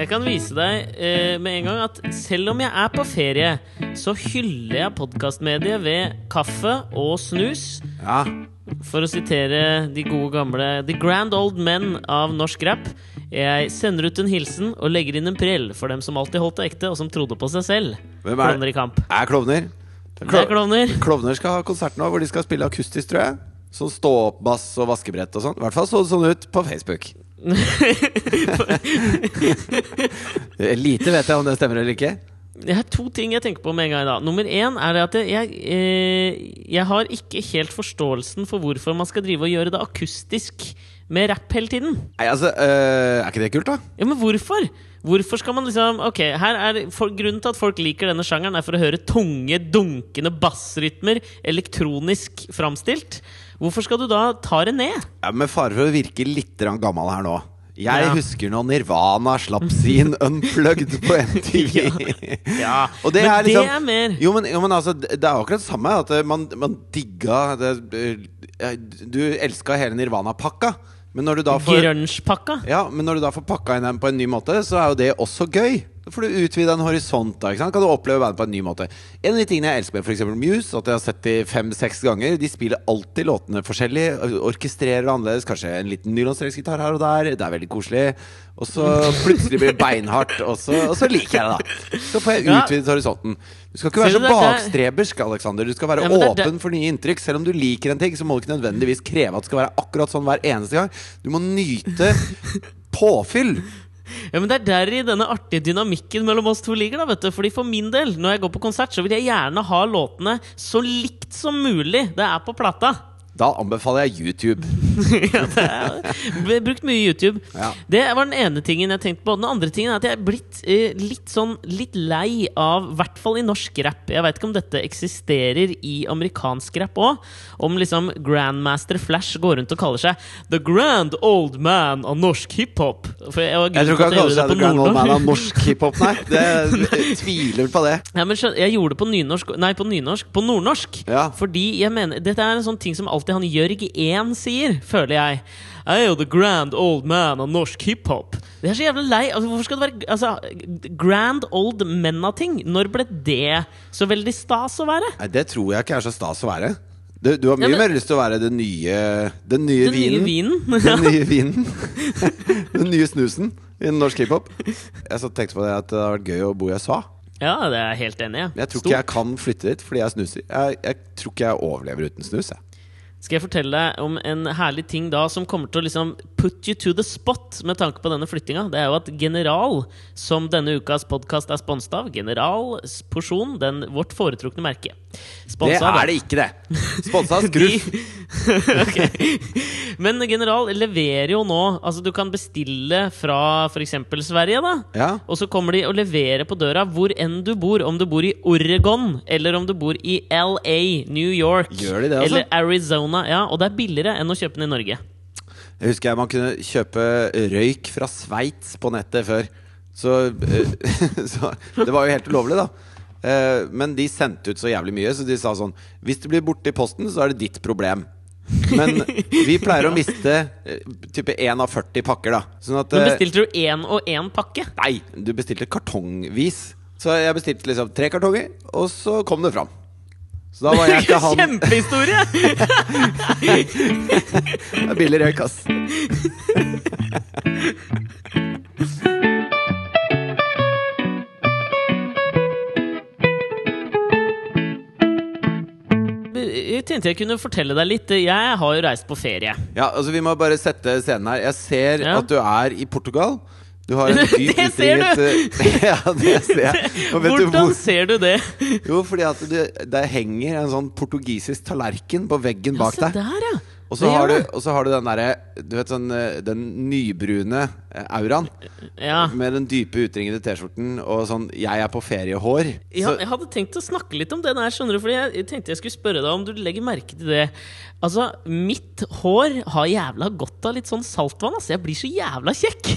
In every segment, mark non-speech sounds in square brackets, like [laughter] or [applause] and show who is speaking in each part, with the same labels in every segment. Speaker 1: Jeg kan vise deg eh, med en gang at selv om jeg er på ferie, så hyller jeg podkastmediet ved kaffe og snus.
Speaker 2: Ja.
Speaker 1: For å sitere de gode gamle The Grand Old Men av norsk rap. Jeg sender ut en hilsen og legger inn en prell for dem som alltid holdt det ekte, og som trodde på seg selv.
Speaker 2: Hvem er-
Speaker 1: Klovner i kamp.
Speaker 2: Er klovner.
Speaker 1: Det er klovner.
Speaker 2: Klovner skal ha konsert nå hvor de skal spille akustisk, tror jeg. Sånn stå-opp-bass og vaskebrett og sånn. I hvert fall så det sånn ut på
Speaker 1: [laughs]
Speaker 2: Facebook. [laughs] Lite vet jeg om det stemmer eller ikke.
Speaker 1: Jeg har to ting jeg tenker på med en gang. da Nummer én er det at jeg, eh, jeg har ikke helt forståelsen for hvorfor man skal drive og gjøre det akustisk med rapp hele tiden.
Speaker 2: Nei, altså, øh, Er ikke det kult, da?
Speaker 1: Ja, Men hvorfor? Hvorfor skal man liksom Ok, her er for, Grunnen til at folk liker denne sjangeren, er for å høre tunge, dunkende bassrytmer elektronisk framstilt. Hvorfor skal du da ta det ned?
Speaker 2: Ja, Med fare for å virke litt grann gammel her nå. Jeg
Speaker 1: Ja.
Speaker 2: husker når Nirvana slapp
Speaker 1: [laughs]
Speaker 2: sin Unplugged på MTV.
Speaker 1: Ja,
Speaker 2: Og det
Speaker 1: Men
Speaker 2: er liksom,
Speaker 1: det er mer.
Speaker 2: Jo, men, jo, men altså, det det er jo akkurat det samme. At eh, man, man digga det, eh, Du elska hele Nirvana-pakka. Men når du da får
Speaker 1: Grunge-pakka.
Speaker 2: Ja, men når du da får pakka inn den på en ny måte, så er jo det også gøy. Da får du utvida en horisont. da, ikke sant? Kan du oppleve bandet på en ny måte. En av de tingene jeg elsker med f.eks. Muse, at jeg har sett de fem-seks ganger, de spiller alltid låtene forskjellig, orkestrerer annerledes, kanskje en liten nylonstreksgitar her og der. Det er veldig koselig. Og så plutselig blir det beinhardt, og så, og så liker jeg det, da. Så får jeg
Speaker 1: Ja.
Speaker 2: utvidet horisonten. Du skal ikke
Speaker 1: Ser
Speaker 2: være
Speaker 1: du
Speaker 2: så
Speaker 1: det?
Speaker 2: bakstrebersk, Alexander. Du skal være
Speaker 1: Ja, men det er det-
Speaker 2: åpen for nye inntrykk. Selv om du liker en ting, så må du ikke nødvendigvis kreve at det skal være akkurat sånn hver eneste gang. Du må
Speaker 1: [laughs]
Speaker 2: nyte påfyll.
Speaker 1: Ja, men Det er der i denne artige dynamikken mellom oss to ligger. da, vet du Fordi For min del, når jeg går på konsert, så vil jeg gjerne ha låtene så likt som mulig det er på plata.
Speaker 2: Da anbefaler jeg YouTube.
Speaker 1: [laughs] ja, det er, ble brukt mye YouTube.
Speaker 2: Ja.
Speaker 1: Det var den ene tingen jeg tenkte på. Den andre tingen er at jeg er blitt eh, litt sånn litt lei av, i hvert fall i norsk rap Jeg veit ikke om dette eksisterer i amerikansk rap òg. Om liksom Grandmaster Flash går rundt og kaller seg The Grand Old Man av norsk hiphop. For jeg, var
Speaker 2: Jeg tror ikke han kaller
Speaker 1: grunnen til at jeg gjorde det
Speaker 2: seg The
Speaker 1: på
Speaker 2: Grand Old
Speaker 1: nordnorsk.
Speaker 2: Man av norsk hiphop, nei. Det,
Speaker 1: [laughs]
Speaker 2: jeg tviler på det.
Speaker 1: Ja, men skjøn- jeg gjorde det på nynorsk Nei, på nynorsk På nordnorsk
Speaker 2: Ja.
Speaker 1: Fordi jeg mener Dette er en sånn ting som alltid han Jørg 1 sier Føler jeg I am the grand old man av norsk hiphop Det er så jævlig lei altså, Hvorfor skal det være altså, Grand old men av ting Når ble det så veldig stas å være?
Speaker 2: Nei, det tror jeg ikke er så stas å være. Du, du har mye
Speaker 1: Ja, men-
Speaker 2: mer lyst til å være den nye, den nye
Speaker 1: Den nye
Speaker 2: vinen.
Speaker 1: vinen.
Speaker 2: Den nye vinen. [laughs] den nye snusen innen norsk hiphop. Jeg så tenkte på det at det hadde vært gøy å bo i USA.
Speaker 1: [laughs] Ja, det er jeg helt enig i
Speaker 2: Men Jeg tror
Speaker 1: Stor-
Speaker 2: ikke jeg kan flytte dit fordi jeg snuser. Jeg, jeg tror ikke jeg overlever uten snus. Jeg.
Speaker 1: Skal jeg fortelle deg om en herlig ting da som kommer til å liksom put you to the spot med tanke på denne flyttinga? Det er jo at General, som denne ukas podkast er sponset av General Porsjon, den vårt foretrukne merke
Speaker 2: Det
Speaker 1: Sponset av-
Speaker 2: er det ikke, det! Sponsa [laughs] av Scruff.
Speaker 1: [laughs] Ok. Men General leverer jo nå Altså, du kan bestille fra f.eks. Sverige, da.
Speaker 2: Ja.
Speaker 1: Og så kommer de og leverer på døra hvor enn du bor. Om du bor i Oregon, eller om du bor i LA, New York
Speaker 2: Gjør de det, altså?
Speaker 1: eller Arizona. Ja, Og det er billigere enn å kjøpe den i Norge.
Speaker 2: Jeg husker jeg man kunne kjøpe røyk fra Sveits på nettet før. Så, eh, [laughs] så Det var jo helt ulovlig, da. Eh, Men de sendte ut så jævlig mye, så de sa sånn Hvis det blir borte i posten, så er det ditt problem. [laughs] Men vi pleier å miste eh, type 1 av 40 pakker, da. Sånn at
Speaker 1: Men
Speaker 2: eh,
Speaker 1: bestilte du én og én pakke?
Speaker 2: Nei, du bestilte kartongvis. Så jeg bestilte liksom tre kartonger, og så kom det fram. Så da var
Speaker 1: [laughs]
Speaker 2: jeg ikke han
Speaker 1: Kjempehistorie! [laughs]
Speaker 2: Det er Billig røyk, ass.
Speaker 1: Jeg tenkte jeg kunne fortelle deg litt. Jeg har jo reist på ferie.
Speaker 2: Ja, altså Vi må bare sette scenen her. Jeg ser
Speaker 1: Ja.
Speaker 2: at du er i Portugal.
Speaker 1: [laughs]
Speaker 2: Du har en dyp
Speaker 1: Det ser du!
Speaker 2: utringet- [laughs] ja, det ser jeg. Og vet du
Speaker 1: Hvordan
Speaker 2: hvor?
Speaker 1: ser du det?
Speaker 2: Jo, fordi at du, der henger en sånn portugisisk tallerken på veggen bak
Speaker 1: Se
Speaker 2: deg.
Speaker 1: der, ja.
Speaker 2: Og
Speaker 1: Altså, Det
Speaker 2: så har
Speaker 1: gjør
Speaker 2: du,
Speaker 1: det.
Speaker 2: og så har du den derre Du vet sånn eh, Den nybrune eh, auraen.
Speaker 1: ja.
Speaker 2: Med den dype utringede T-skjorten og sånn 'jeg er på feriehår'.
Speaker 1: Ja,
Speaker 2: Så-
Speaker 1: jeg hadde tenkt å snakke litt om det der, skjønner du. Fordi jeg jeg tenkte jeg skulle spørre deg om du legger merke til det. Altså, mitt hår har jævla godt av litt sånn saltvann, altså. Jeg blir så jævla kjekk.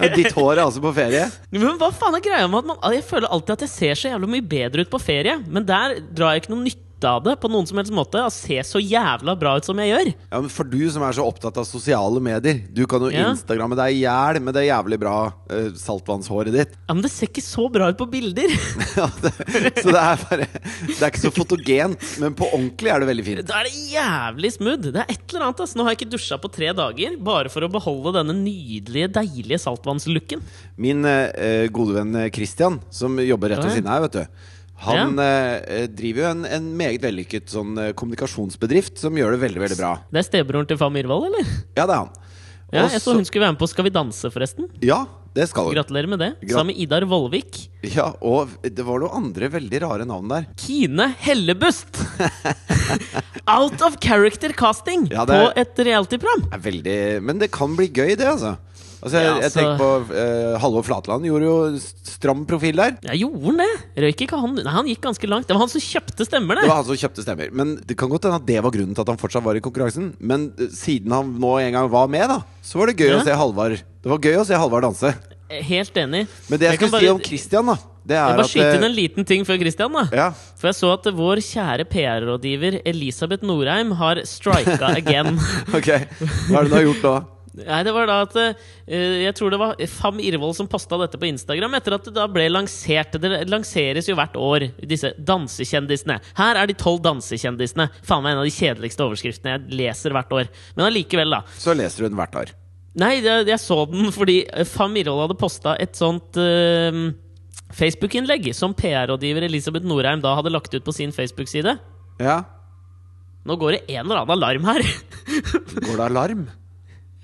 Speaker 2: Ja, Ditt hår er altså på ferie?
Speaker 1: Men hva faen er greia med at man Jeg føler alltid at jeg ser så jævla mye bedre ut på ferie, men der drar jeg ikke noe nytte nytte av det på noen som helst måte. Å se så jævla bra ut som jeg gjør.
Speaker 2: Ja, men For du som er så opptatt av sosiale medier, du kan jo
Speaker 1: Ja.
Speaker 2: instagramme deg i hjel med det jævlig bra eh, saltvannshåret ditt. [laughs]
Speaker 1: Ja, Men det ser ikke så bra ut på bilder! [laughs]
Speaker 2: Ja, det, så det er bare Det er ikke så fotogent, men på ordentlig er det veldig fint.
Speaker 1: Da er det jævlig smooth! Det er et eller annet, ass. Nå har jeg ikke dusja på tre dager, bare for å beholde denne nydelige, deilige saltvannslooken.
Speaker 2: Min eh, gode venn Christian, som jobber rett ved
Speaker 1: Ja.
Speaker 2: siden av her, vet du. Han eh, driver jo en, en meget vellykket sånn eh, kommunikasjonsbedrift som gjør det veldig, veldig bra.
Speaker 1: Det er stebroren til far Myhrvold, eller?
Speaker 2: Ja, det er han.
Speaker 1: Ja,
Speaker 2: Og
Speaker 1: jeg
Speaker 2: så-
Speaker 1: så hun skulle være med på Skal vi danse, forresten.
Speaker 2: ja, det skal hun.
Speaker 1: Gratulerer med det.
Speaker 2: Gra-
Speaker 1: Sammen med Idar Vollvik.
Speaker 2: Ja, og det var noen andre veldig rare navn der.
Speaker 1: Kine Hellebust! [laughs] Out of character casting
Speaker 2: Ja, det-
Speaker 1: på et realityprogram!
Speaker 2: er veldig Men det kan bli gøy, det, altså. Altså, jeg,
Speaker 1: Ja,
Speaker 2: jeg
Speaker 1: altså-
Speaker 2: tenker på eh, Halvor Flatland gjorde jo s- stram profil der.
Speaker 1: Ja, gjorde han det? Røyk ikke han? Nei, han gikk ganske langt. Det var han som kjøpte stemmer,
Speaker 2: Det
Speaker 1: det!
Speaker 2: var han som kjøpte stemmer. Men det kan godt hende at det var grunnen til at han fortsatt var i konkurransen. Men eh, siden han nå en gang var med, da, så var det gøy
Speaker 1: Ja.
Speaker 2: å se Halvor Det var gøy å se Halvor danse.
Speaker 1: Helt enig.
Speaker 2: Men det jeg,
Speaker 1: Jeg kan
Speaker 2: skulle si
Speaker 1: bare-
Speaker 2: om Christian, da, det
Speaker 1: Jeg
Speaker 2: er
Speaker 1: bare
Speaker 2: at eh,
Speaker 1: skyter inn en liten ting før Christian, da.
Speaker 2: ja, [laughs]
Speaker 1: For jeg så at vår kjære PR-rådgiver Elisabeth Norheim har
Speaker 2: [laughs]
Speaker 1: strika again.
Speaker 2: ok. Hva er det du har gjort nå?
Speaker 1: Nei, det var da at eh, Jeg tror det var Fam Irvold som posta dette på Instagram etter at det da ble lansert. Det lanseres jo hvert år, disse dansekjendisene. Her er de tolv dansekjendisene. Faen meg en av de kjedeligste overskriftene jeg leser hvert år. Men allikevel, da.
Speaker 2: Så leser hun hvert år.
Speaker 1: Nei, det, jeg så den fordi eh, Fam Irvold hadde posta et sånt eh, Facebook-innlegg som PR-rådgiver Elisabeth Norheim da hadde lagt ut på sin Facebook-side.
Speaker 2: Ja.
Speaker 1: Nå går det en eller annen alarm her.
Speaker 2: Går det alarm?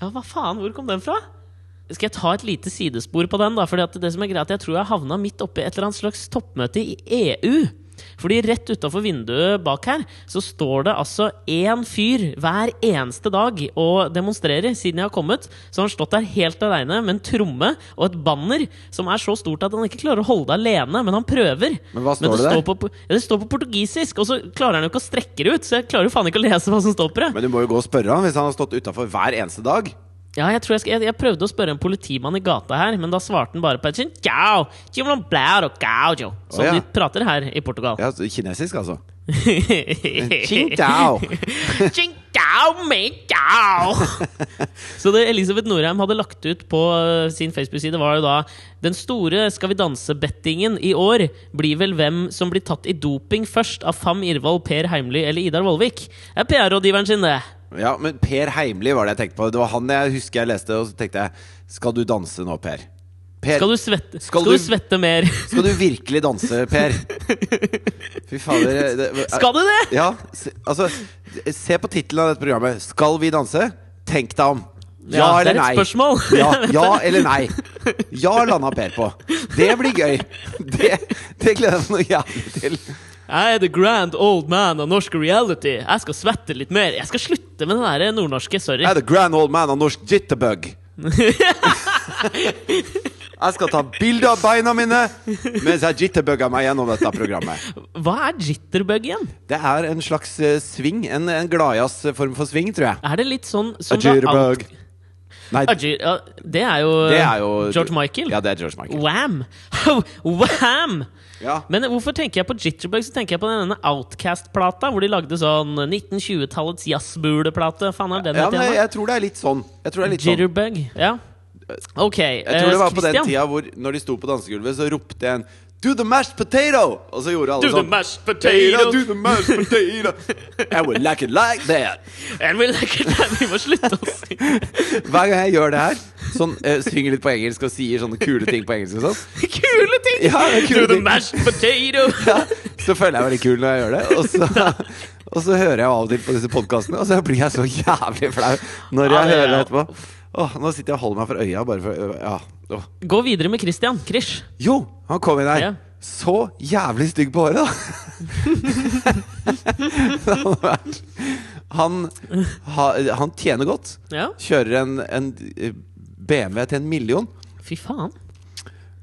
Speaker 1: Ja, hva faen, hvor kom den fra? Skal jeg ta et lite sidespor på den, da? Fordi at det som er greit, jeg tror jeg havna midt oppi et eller annet slags toppmøte i EU. Fordi rett utafor vinduet bak her så står det altså én fyr hver eneste dag og demonstrerer siden jeg har kommet. Så han har stått der helt aleine med en tromme og et banner som er så stort at han ikke klarer å holde det alene, men han prøver.
Speaker 2: Men hva står
Speaker 1: det,
Speaker 2: det der?
Speaker 1: står på, po- ja, det står på portugisisk, og så klarer han jo ikke å strekke det ut, så jeg klarer jo faen ikke å lese hva som står på det.
Speaker 2: Men du må jo gå og spørre han hvis han har stått utafor hver eneste dag.
Speaker 1: Ja, jeg, tror jeg, skal, jeg, jeg prøvde å spørre en politimann i gata her, men da svarte han bare på et sånt «Ciao, ci vuole un blaro, ciao, ciao», Som
Speaker 2: Å, ja.
Speaker 1: de prater her i [laughs] Portugal.
Speaker 2: Ja, kinesisk, altså. Ching
Speaker 1: Ciao,
Speaker 2: tao. [laughs]
Speaker 1: ciao. Så det Elisabeth Norheim hadde lagt ut på eh, sin Facebook-side, var jo da Den store Skal vi danse-bettingen i år blir vel hvem som blir tatt i doping først av Fam Irvold, Per Heimly eller Idar Vollvik. Det er PR-rådgiveren sin, det.
Speaker 2: Ja, men Per Heimli var det jeg tenkte på. Det var han jeg husker jeg leste, og så tenkte jeg Skal du danse nå, Per? per
Speaker 1: Skal du svette,
Speaker 2: Skal
Speaker 1: skal
Speaker 2: du-
Speaker 1: du svette
Speaker 2: [laughs]
Speaker 1: mer?
Speaker 2: skal du virkelig danse, Per? Fy fader. Det,
Speaker 1: Skal du det?
Speaker 2: Ja, se, altså Se på tittelen av dette programmet. 'Skal vi danse?' Tenk deg om. Ja,
Speaker 1: Ja, det er
Speaker 2: eller
Speaker 1: et
Speaker 2: nei.
Speaker 1: spørsmål.
Speaker 2: Ja, ja eller nei. Ja landa Per på. Det blir gøy. Det, det gleder jeg meg noe jævlig til.
Speaker 1: [laughs] Jeg er the grand old man av norsk reality. Jeg skal svette litt mer. Jeg skal slutte med den der nordnorske. Sorry.
Speaker 2: Jeg er the grand old man av norsk
Speaker 1: [laughs]
Speaker 2: jitterbug. jeg skal ta bilde av beina mine mens jeg jitterbugger meg gjennom dette programmet.
Speaker 1: Hva er jitterbug igjen?
Speaker 2: Det er en slags eh, sving. En, en gladjazz-form for sving, tror jeg.
Speaker 1: Er det litt sånn
Speaker 2: A
Speaker 1: som det er
Speaker 2: jitterbug.
Speaker 1: alt-
Speaker 2: Nei,
Speaker 1: A gi- ja, det er jo
Speaker 2: det er jo
Speaker 1: George Michael.
Speaker 2: Ja, det er George Michael.
Speaker 1: Wham! [laughs] Wham!
Speaker 2: Ja.
Speaker 1: Men hvorfor tenker jeg på jitterbug? Så tenker jeg på denne Outcast-plata, hvor de lagde sånn 1920-tallets jazzbuleplate. Faen, er den
Speaker 2: Ja,
Speaker 1: het
Speaker 2: men
Speaker 1: igjen, da?
Speaker 2: jeg tror det er litt sånn. Jeg tror det er litt sånn.
Speaker 1: Jitterbug. Ja. Ok. eh,
Speaker 2: Jeg tror det var på den
Speaker 1: Christian.
Speaker 2: tida hvor når de sto på dansegulvet, så ropte jeg en Do the mashed potato! Og så gjorde alle
Speaker 1: Do the
Speaker 2: sånn.
Speaker 1: mashed
Speaker 2: potato,
Speaker 1: potatoes.
Speaker 2: do the mashed
Speaker 1: [laughs]
Speaker 2: potato. I would like it like that.
Speaker 1: And we like it. Vi må slutte å si
Speaker 2: Hver gang jeg gjør det her, sånn, eh, synger litt på engelsk og sier sånne kule ting på engelsk, og sånn,
Speaker 1: Kule ting!
Speaker 2: Ja, det er kule
Speaker 1: Do the
Speaker 2: ting.
Speaker 1: mashed potato!
Speaker 2: ja, så føler jeg meg litt kul når jeg gjør det. Og så, og så hører jeg av og til på disse podkastene, og så blir jeg så jævlig flau
Speaker 1: Ja,
Speaker 2: når jeg
Speaker 1: det er
Speaker 2: hører det
Speaker 1: jeg.
Speaker 2: etterpå. Åh, nå sitter jeg og holder meg for øya bare for Ja. åh.
Speaker 1: Gå videre med Christian. Krish.
Speaker 2: Jo, han kom inn her.
Speaker 1: Ja.
Speaker 2: Så jævlig stygg på håret, da! [laughs] Det hadde vært- han, ha, han tjener godt.
Speaker 1: Ja,
Speaker 2: Kjører en, en eh, BMW til en million.
Speaker 1: fy faen.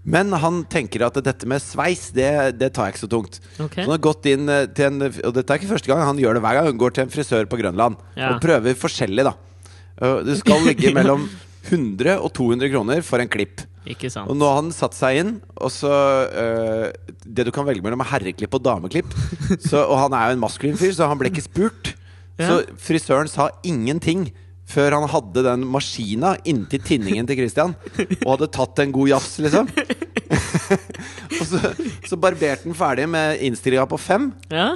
Speaker 2: Men han tenker at dette med sveis, det, det tar jeg ikke så tungt.
Speaker 1: Ok.
Speaker 2: Så han har gått inn eh, til en Og dette er ikke første gang, han gjør det hver gang. Han går til en frisør på Grønland
Speaker 1: Ja.
Speaker 2: og Eh,
Speaker 1: [laughs]
Speaker 2: prøver forskjellig, da. Uh, Det skal ligge mellom 100 og 200 kroner for en klipp.
Speaker 1: Ikke sant.
Speaker 2: Og nå har han satt seg inn, og så øh, Det du kan velge mellom er herreklipp og dameklipp. Så, og han er jo en maskulin fyr, så han ble ikke spurt. Så frisøren sa ingenting før han hadde den maskina inntil tinningen til Christian og hadde tatt en god jafs, liksom. [laughs] og så, så barberte han ferdig med innstillinga på fem,
Speaker 1: Ja?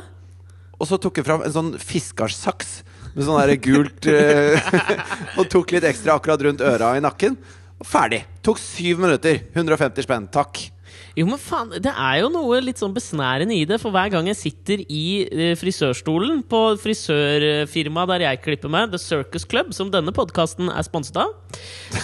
Speaker 2: og så tok han fram en sånn fiskersaks med sånn der gult eh, [laughs] Og tok litt ekstra akkurat rundt øra og i nakken. Og ferdig. Tok syv minutter. 150 spenn. Takk.
Speaker 1: Jo, men faen, det er jo noe litt sånn besnærende i det, for hver gang jeg sitter i eh, frisørstolen på frisørfirmaet der jeg klipper meg, The Circus Club, som denne podkasten er sponset av,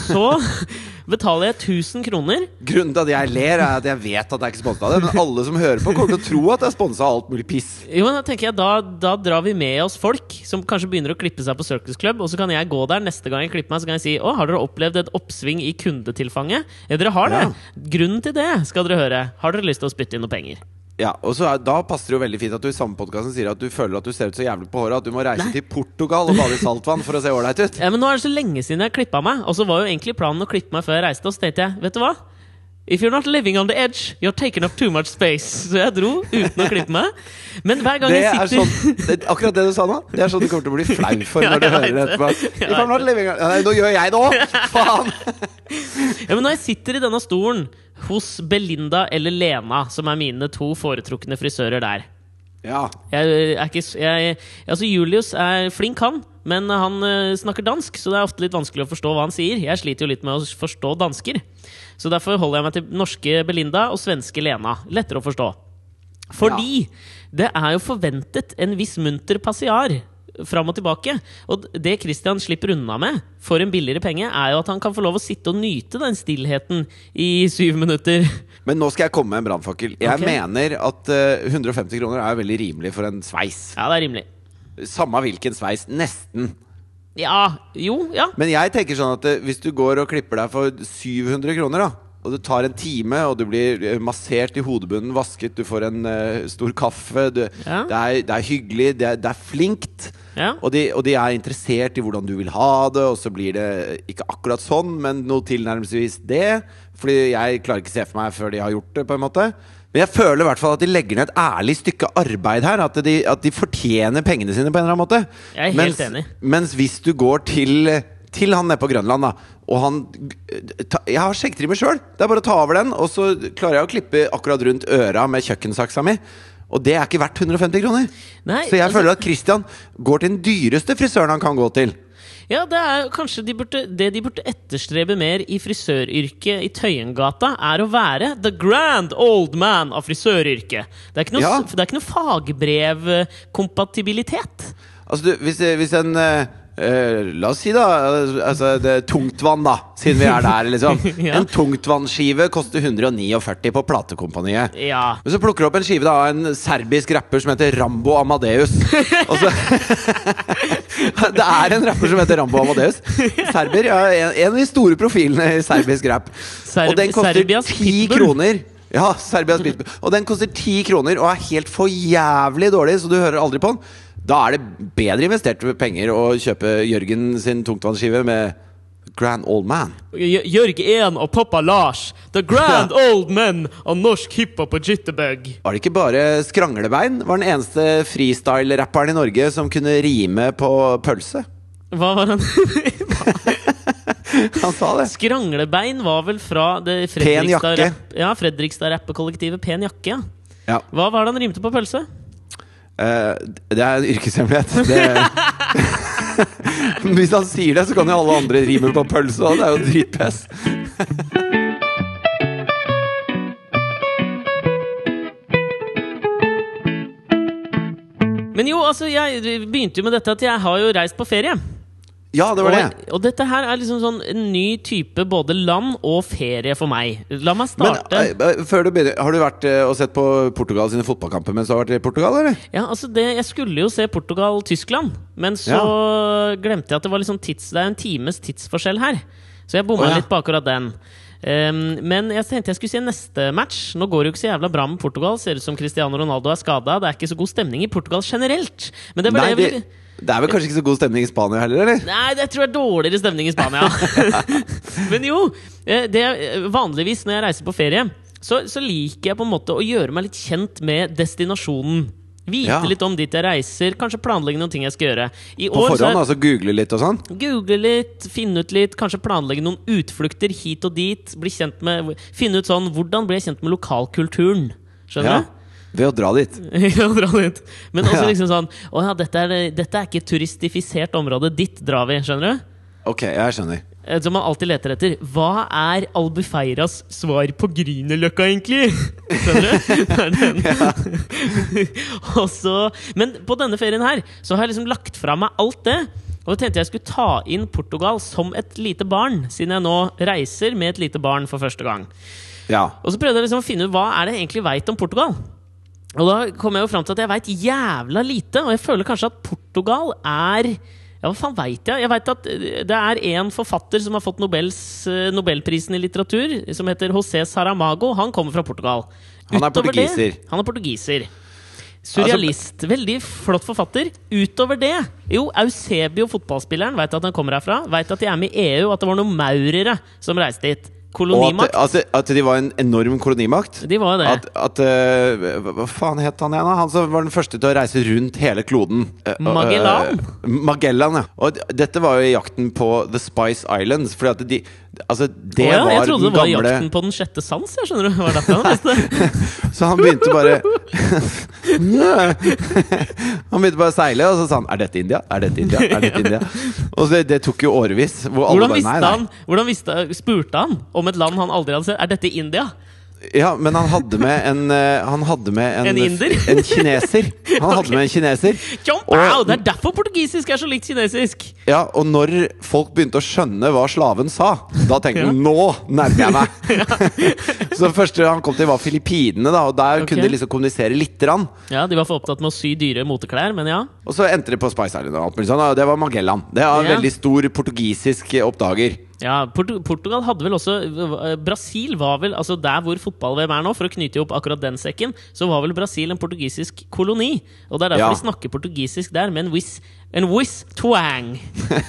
Speaker 1: så [laughs] betaler jeg 1000 kroner.
Speaker 2: Grunnen til at jeg ler, er at jeg vet at det er ikke sponsa av det, men alle som hører på, kommer til å tro at det er sponsa av alt mulig piss.
Speaker 1: Jo, men Da tenker jeg, da, da drar vi med oss folk som kanskje begynner å klippe seg på Circus Club. Og så kan jeg gå der neste gang jeg klipper meg Så kan jeg si Å, har dere opplevd et oppsving i kundetilfanget? Ja, dere har det.
Speaker 2: Ja.
Speaker 1: Grunnen til det skal dere høre. Har dere lyst til å spytte inn noe penger?
Speaker 2: Ja, og så er, Da passer det jo veldig fint at du i samme podkasten sier at du føler at du ser ut så jævlig på håret at du må reise til Portugal og bade i saltvann for å se ålreit ut.
Speaker 1: Ja, men Nå er det så lenge siden jeg klippa meg, og så var jo egentlig planen å klippe meg før jeg reiste. Og så tenkte jeg, vet du hva? If you're not living on the edge, you're taking up too much space. Så jeg dro uten å klippe meg. Men hver gang
Speaker 2: Det
Speaker 1: jeg
Speaker 2: er
Speaker 1: sitter
Speaker 2: sånn, det, akkurat det du sa nå, det er sånn du kommer til å bli flau for
Speaker 1: [laughs] Ja,
Speaker 2: når du
Speaker 1: jeg
Speaker 2: hører det
Speaker 1: vet det.
Speaker 2: etterpå.
Speaker 1: Jeg
Speaker 2: If I'm not living- Ja, nei, Nå gjør jeg det òg!
Speaker 1: [laughs]
Speaker 2: Faen!
Speaker 1: Ja, men når jeg sitter i denne stolen hos Belinda eller Lena, som er mine to foretrukne frisører der
Speaker 2: Ja.
Speaker 1: jeg eh, er ikke, s- jeg, altså Julius er flink, han, men han eh, snakker dansk, så det er ofte litt vanskelig å forstå hva han sier. Jeg sliter jo litt med å s- forstå dansker, så derfor holder jeg meg til norske Belinda og svenske Lena. Lettere å forstå. Fordi det er jo forventet en viss munter passiar fram og tilbake. Og d- det Christian slipper unna med for en billigere penge, er jo at han kan få lov å sitte og nyte den stillheten i syv minutter. [laughs]
Speaker 2: Men nå skal jeg komme med en brannfakkel. Jeg
Speaker 1: Ok.
Speaker 2: mener at eh, 150 kroner er veldig rimelig for en sveis.
Speaker 1: Ja, det er rimelig.
Speaker 2: Samme hvilken sveis. Nesten.
Speaker 1: Ja. Jo, ja.
Speaker 2: Men jeg tenker sånn at eh, hvis du går og klipper deg for 700 kroner da og det tar en time, og du blir eh, massert i hodebunnen, vasket, du får en eh, stor kaffe du,
Speaker 1: Ja.
Speaker 2: det, er, det er hyggelig, det er, det er flinkt.
Speaker 1: Ja.
Speaker 2: Og, de, og de er interessert i hvordan du vil ha det, og så blir det ikke akkurat sånn, men noe tilnærmelsesvis det. Fordi jeg klarer ikke se for meg før de har gjort det, på en måte. Men jeg føler i hvert fall at de legger ned et ærlig stykke arbeid her. At de, at de fortjener pengene sine på en eller annen måte.
Speaker 1: Jeg er helt enig.
Speaker 2: Mens hvis du går til, til han nede på Grønland, da og han ta, Jeg har skjeggtrimmer sjøl! Det er bare å ta over den, og så klarer jeg å klippe akkurat rundt øra med kjøkkensaksa mi. Og det er ikke verdt 150 kroner.
Speaker 1: Nei,
Speaker 2: så jeg
Speaker 1: altså-
Speaker 2: føler at Christian går til den dyreste frisøren han kan gå til.
Speaker 1: Ja, det er jo kanskje de burde, det de burde etterstrebe mer i frisøryrket i Tøyengata, er å være the grand old man av frisøryrket. Det er ikke noe,
Speaker 2: Ja.
Speaker 1: det er ikke noe fagbrevkompatibilitet.
Speaker 2: Altså, du, hvis, hvis en eh, eh, La oss si, da altså, det er Tungtvann, da, siden vi er der, liksom.
Speaker 1: [laughs] Ja.
Speaker 2: En tungtvannskive koster 149 på platekompaniet.
Speaker 1: Ja.
Speaker 2: Men så plukker du opp en skive da, av en serbisk rapper som heter Rambo
Speaker 1: [laughs]
Speaker 2: Amadeus. Og så, [laughs] det er en rapper som heter Rambo Amadeus. Serber. Ja, en, en av de store profilene i serbisk rap. og den koster
Speaker 1: Serbias
Speaker 2: ti
Speaker 1: pitbull.
Speaker 2: kroner. Ja, Serbias pitbull. Og den koster ti kroner og er helt for jævlig dårlig, så du hører aldri på den. Da er det bedre investerte penger å kjøpe Jørgen sin tungtvannsskive med Grand Old Man.
Speaker 1: J- Jørg Ehn og pappa Lars, the
Speaker 2: [laughs]
Speaker 1: grand old men av norsk hiphop og jitterbug.
Speaker 2: Var det ikke bare Skranglebein var den eneste freestyle-rapperen i Norge som kunne rime på pølse?
Speaker 1: Hva var han? [laughs]
Speaker 2: Han sa det.
Speaker 1: Skranglebein var vel fra det
Speaker 2: Pen jakke.
Speaker 1: Fredrikstad rapp- ja, Fredrikstad rappekollektivet Pen jakke. ja.
Speaker 2: Ja.
Speaker 1: Hva var det han rimte på pølse?
Speaker 2: Eh, det er en yrkeshemmelighet. Det... [laughs] Men Hvis han sier det, så kan jo alle andre rime på pølse. og Det er jo dritpess.
Speaker 1: Men jo, altså, jeg begynte jo med dette at jeg har jo reist på ferie.
Speaker 2: Ja, det var det.
Speaker 1: Og, og dette her er liksom sånn en ny type både land og ferie for meg. La meg
Speaker 2: Men
Speaker 1: starte.
Speaker 2: eh, eh, før du begynner, har du vært eh, og sett på Portugal sine fotballkamper mens du har vært i Portugal, eller?
Speaker 1: ja, altså det, jeg skulle jo se Portugal-Tyskland, men så glemte jeg at det var liksom tids, det er en times tidsforskjell her. Så jeg bomma
Speaker 2: Å, ja.
Speaker 1: litt på akkurat den. Ehm, men jeg tenkte jeg skulle se neste match. Nå går det jo ikke så jævla bra med Portugal. Ser ut som Cristiano Ronaldo er skada. Det er ikke så god stemning i Portugal generelt. Men det var
Speaker 2: Nei,
Speaker 1: det jeg
Speaker 2: det,
Speaker 1: ville
Speaker 2: det er vel kanskje ikke så god stemning i Spania heller, eller? [laughs]
Speaker 1: Nei, det tror jeg er dårligere stemning i Spania. Men jo, Eh, Det, eh, vanligvis når jeg reiser på ferie, så, så liker jeg på en måte å gjøre meg litt kjent med destinasjonen. Vite
Speaker 2: Ja.
Speaker 1: litt om dit jeg reiser, kanskje planlegge noen ting jeg skal gjøre. I
Speaker 2: På
Speaker 1: år så
Speaker 2: forhånd,
Speaker 1: har jeg
Speaker 2: altså google litt og sånn?
Speaker 1: Google litt, finne ut litt, kanskje planlegge noen utflukter hit og dit. Bli kjent med, finne ut sånn Hvordan blir jeg kjent med lokalkulturen? Skjønner
Speaker 2: Ja.
Speaker 1: du? [laughs]
Speaker 2: Ved å dra dit.
Speaker 1: Ja, dra dit. Men også
Speaker 2: Ja.
Speaker 1: liksom sånn Å ja, dette er, dette er ikke et turistifisert område. Dit drar vi, skjønner du?
Speaker 2: Ok, jeg skjønner.
Speaker 1: Eh, Som man alltid leter etter. Hva er Albufeiras svar på Grünerløkka, egentlig? [laughs] Skjønner du? Det er den. [laughs] Og så- men på denne ferien her så har jeg liksom lagt fra meg alt det. Og da tenkte jeg jeg skulle ta inn Portugal som et lite barn, siden jeg nå reiser med et lite barn for første gang.
Speaker 2: Ja.
Speaker 1: Og så prøvde jeg liksom å finne ut hva er det jeg egentlig veit om Portugal. Og da kom jeg jo fram til at jeg veit jævla lite, og jeg føler kanskje at Portugal er ja, hva faen veit jeg? Jeg vet at eh, Det er en forfatter som har fått Nobels, eh, Nobelprisen i litteratur, som heter José Saramago. Han kommer fra Portugal.
Speaker 2: Han er
Speaker 1: Utover
Speaker 2: portugiser.
Speaker 1: Det, han er portugiser. Surrealist. Veldig flott forfatter. Utover det Jo, Eusebio, fotballspilleren, veit at han kommer herfra. Veit at de er med i EU, at det var noen maurere som reiste hit.
Speaker 2: Og at,
Speaker 1: Kolonimakt.
Speaker 2: at, at de var en enorm kolonimakt?
Speaker 1: De var jo det.
Speaker 2: At, at eh, hva- Hva faen het han igjen? da? Han som var den første til å reise rundt hele kloden. Eh, og, eh,
Speaker 1: Magellan?
Speaker 2: Magellan, ja. Og d- dette var jo i jakten på The Spice Islands. Fordi at de Altså, det
Speaker 1: Å ja,
Speaker 2: var
Speaker 1: jeg trodde det
Speaker 2: den
Speaker 1: var
Speaker 2: gamle
Speaker 1: jakten på den sjette sans. Jeg skjønner du Det var
Speaker 2: [laughs]
Speaker 1: derfor han leste.
Speaker 2: Så han begynte bare [laughs] Han begynte bare å seile, og så sa han Er dette India? Er dette India? Er
Speaker 1: [laughs]
Speaker 2: dette India? Og så det, det tok jo årevis. Hvor alle
Speaker 1: Hvordan
Speaker 2: bare,
Speaker 1: visste
Speaker 2: nei,
Speaker 1: han, hvordan visste, spurte han om et land han aldri hadde sett? Er dette India?
Speaker 2: nei. Ja, men han hadde med en eh, Han hadde med en,
Speaker 1: En inder?
Speaker 2: [laughs] en kineser. Han hadde med en kineser.
Speaker 1: Tjomp,
Speaker 2: Og-
Speaker 1: au, det er derfor portugisisk er så likt kinesisk!
Speaker 2: Ja, Og når folk begynte å skjønne hva slaven sa, da tenkte
Speaker 1: Ja.
Speaker 2: han nå nærmer jeg
Speaker 1: [laughs]
Speaker 2: meg! [laughs] så det første han kom til, var Filippinene, da, og der
Speaker 1: Ok.
Speaker 2: kunne de liksom kommunisere lite grann.
Speaker 1: Ja, De var for opptatt med å sy dyre moteklær, men ja.
Speaker 2: Og så endte det på Spice Island, og alt mulig sånn, og det var Magellan. Det var en
Speaker 1: Ja.
Speaker 2: veldig stor portugisisk oppdager. [laughs]
Speaker 1: ja Portu- Portugal hadde vel også eh, Brasil var vel altså der hvor fotball-VM er nå, for å knyte opp akkurat den sekken, så var vel Brasil en portugisisk koloni. Og det er derfor
Speaker 2: Ja.
Speaker 1: vi snakker portugisisk der, med en whiz, en whiz twang.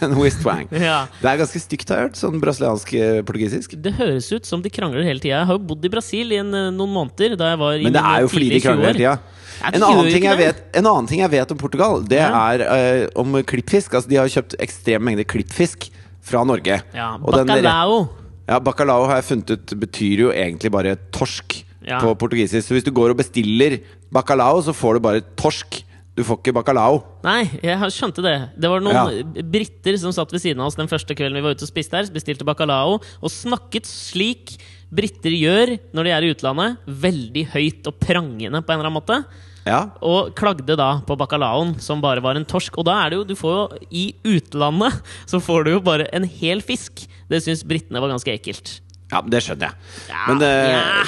Speaker 2: en whist twang.
Speaker 1: Ja.
Speaker 2: Det er ganske stygt, har jeg hørt, sånn brasiliansk eh, portugisisk.
Speaker 1: Det høres ut som de krangler hele tida. Jeg har jo bodd i Brasil i en, eh, noen måneder. Da jeg var i
Speaker 2: Men det
Speaker 1: mine
Speaker 2: er jo fordi de
Speaker 1: tidlige 20 år.
Speaker 2: krangler hele tida.
Speaker 1: Jeg
Speaker 2: En
Speaker 1: tror
Speaker 2: annen,
Speaker 1: jo
Speaker 2: ting
Speaker 1: ikke
Speaker 2: jeg
Speaker 1: det.
Speaker 2: vet, en annen ting jeg vet om Portugal, det
Speaker 1: Ja.
Speaker 2: er eh, om klippfisk. Altså, de har kjøpt ekstreme mengder klippfisk fra Norge.
Speaker 1: Ja,
Speaker 2: Og den-
Speaker 1: Bacalao.
Speaker 2: Ja, bacalao har jeg funnet ut betyr jo egentlig bare torsk
Speaker 1: Ja.
Speaker 2: på portugisisk. Så hvis du går og bestiller bacalao, så får du bare torsk. Du får ikke bacalao.
Speaker 1: Nei, jeg har- skjønte det. Det var noen
Speaker 2: Ja.
Speaker 1: briter som satt ved siden av oss den første kvelden vi var ute og spiste her, bestilte bacalao, og snakket slik briter gjør når de er i utlandet, veldig høyt og prangende på en eller annen måte.
Speaker 2: Ja,
Speaker 1: Og klagde da på bacalaoen, som bare var en torsk. Og da er det jo, du får jo i utlandet, så får du jo bare en hel fisk. Det syns britene var ganske ekkelt.
Speaker 2: Ja, men det skjønner jeg.
Speaker 1: Ja,
Speaker 2: men eh,
Speaker 1: ja.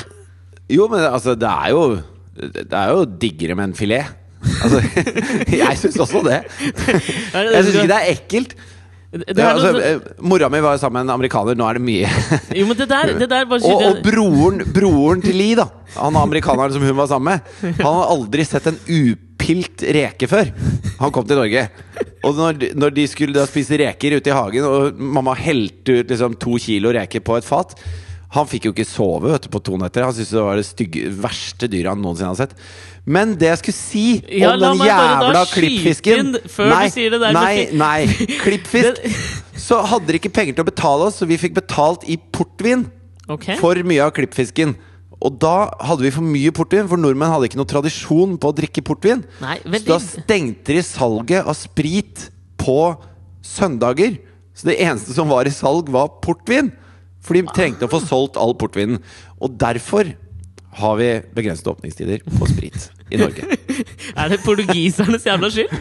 Speaker 2: Jo, men altså, det er jo Det er jo diggere med en filet. Altså, [laughs] jeg syns også det.
Speaker 1: [laughs]
Speaker 2: Jeg syns ikke det er ekkelt.
Speaker 1: Det
Speaker 2: Det,
Speaker 1: er noe
Speaker 2: altså,
Speaker 1: som-
Speaker 2: eh, mora mi var jo sammen med en amerikaner, nå er det mye.
Speaker 1: Jo, men det der, det der bare
Speaker 2: Og, og broren, broren til Lee, da, han amerikaneren som hun var sammen med, han har aldri sett en upilt reke før. Han kom til Norge. Og når, de- når de skulle da spise reker ute i hagen, og mamma helte ut liksom to kilo reker på et fat Han fikk jo ikke sove vet du, på to netter. Han syntes det var det stygge, verste dyret han noensinne har sett. Men det jeg skulle si
Speaker 1: Ja,
Speaker 2: om
Speaker 1: la
Speaker 2: den
Speaker 1: meg bare da
Speaker 2: jævla
Speaker 1: skyte
Speaker 2: klippfisken
Speaker 1: inn før du sier det der med
Speaker 2: nei,
Speaker 1: fi- [laughs]
Speaker 2: nei. Klippfisk. Så hadde de ikke penger til å betale oss, så vi fikk betalt i portvin
Speaker 1: Ok.
Speaker 2: for mye av klippfisken. Og da hadde vi for mye portvin, for nordmenn hadde ikke noe tradisjon på å drikke portvin.
Speaker 1: Nei, veldig-
Speaker 2: Så da stengte de salget av sprit på søndager. Så det eneste som var i salg, var portvin. For de trengte å få solgt all portvinen. Og derfor har vi begrensede åpningstider på sprit i
Speaker 1: [laughs]
Speaker 2: Norge.
Speaker 1: [laughs] Er det portugisernes jævla skyld?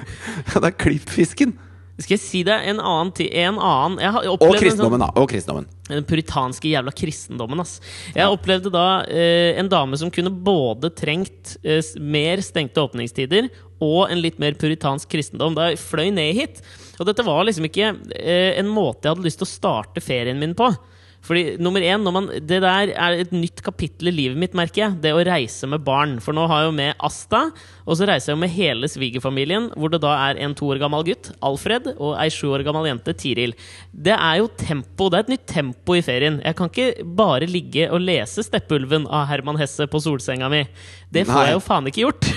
Speaker 2: det er klippfisken!
Speaker 1: Skal jeg si deg en annen ti- En annen Jeg har
Speaker 2: Og
Speaker 1: opplevd en sånn,
Speaker 2: kristendommen, da. Og kristendommen.
Speaker 1: den puritanske jævla kristendommen, ass. Jeg opplevde da eh, en dame som kunne både trengt eh, s- mer stengte åpningstider og en litt mer puritansk kristendom da jeg fløy ned hit. Og dette var liksom ikke eh, en måte jeg hadde lyst til å starte ferien min på. Fordi nummer én, når man, Det der er et nytt kapittel i livet mitt, merker jeg. Det å reise med barn. For nå har jeg jo med Asta, og så reiser jeg jo med hele svigerfamilien, hvor det da er en to år gammel gutt, Alfred, og ei sju år gammel jente, Tiril. Det er jo tempo. Det er et nytt tempo i ferien. Jeg kan ikke bare ligge og lese 'Steppeulven' av Herman Hesse på solsenga mi. Det får
Speaker 2: Nei.
Speaker 1: jeg jo faen ikke gjort.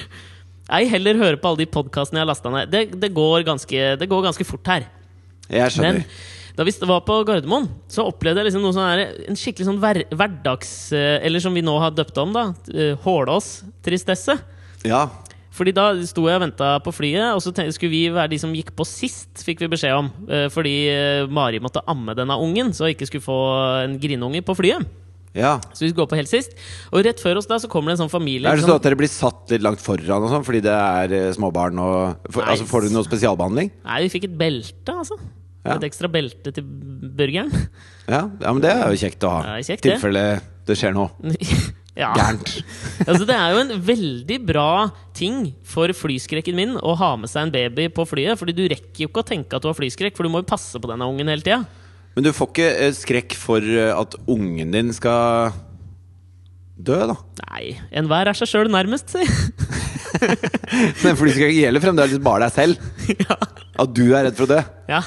Speaker 1: Ei heller høre på alle de podkastene jeg har lasta ned. Det, det, går ganske, det går ganske fort her.
Speaker 2: Jeg skjønner.
Speaker 1: Men da vi var på Gardermoen, så opplevde jeg liksom noe sånn her, en skikkelig sånn hver, hverdags... eh, Eller som vi nå har døpt om, da. eh, Hålås-tristesse.
Speaker 2: Ja.
Speaker 1: Fordi da sto jeg og venta på flyet, og så tenkte, skulle vi være de som gikk på sist, fikk vi beskjed om. eh, Fordi eh, Mari måtte amme denne ungen, så jeg ikke skulle få en grinunge på flyet.
Speaker 2: ja.
Speaker 1: Så vi skulle gå på helt sist. Og rett før oss da så kommer det en sånn familie.
Speaker 2: Er det
Speaker 1: sånn-
Speaker 2: sånn at dere blir satt litt langt foran og sånn fordi det er eh, småbarn og for,
Speaker 1: Nei.
Speaker 2: Altså, får du noe spesialbehandling?
Speaker 1: Nei, vi fikk et belte, altså.
Speaker 2: Ja.
Speaker 1: Et ekstra belte til burgeren. [laughs]
Speaker 2: Ja. ja, men det er jo kjekt å ha.
Speaker 1: Ja, det er kjekt,
Speaker 2: I
Speaker 1: det.
Speaker 2: tilfelle det skjer noe
Speaker 1: ja.
Speaker 2: gærent.
Speaker 1: altså, det er jo en veldig bra ting for flyskrekken min å ha med seg en baby på flyet. Fordi du rekker jo ikke å tenke at du har flyskrekk, for du må jo passe på denne ungen hele tida.
Speaker 2: Men du får ikke eh, skrekk for eh, at ungen din skal dø, da? [laughs]
Speaker 1: Nei, enhver er seg sjøl nærmest, [laughs] si.
Speaker 2: Men for de skal ikke gjelde fremdeles bare deg selv.
Speaker 1: [laughs] ja.
Speaker 2: At du er redd for å dø.
Speaker 1: ja.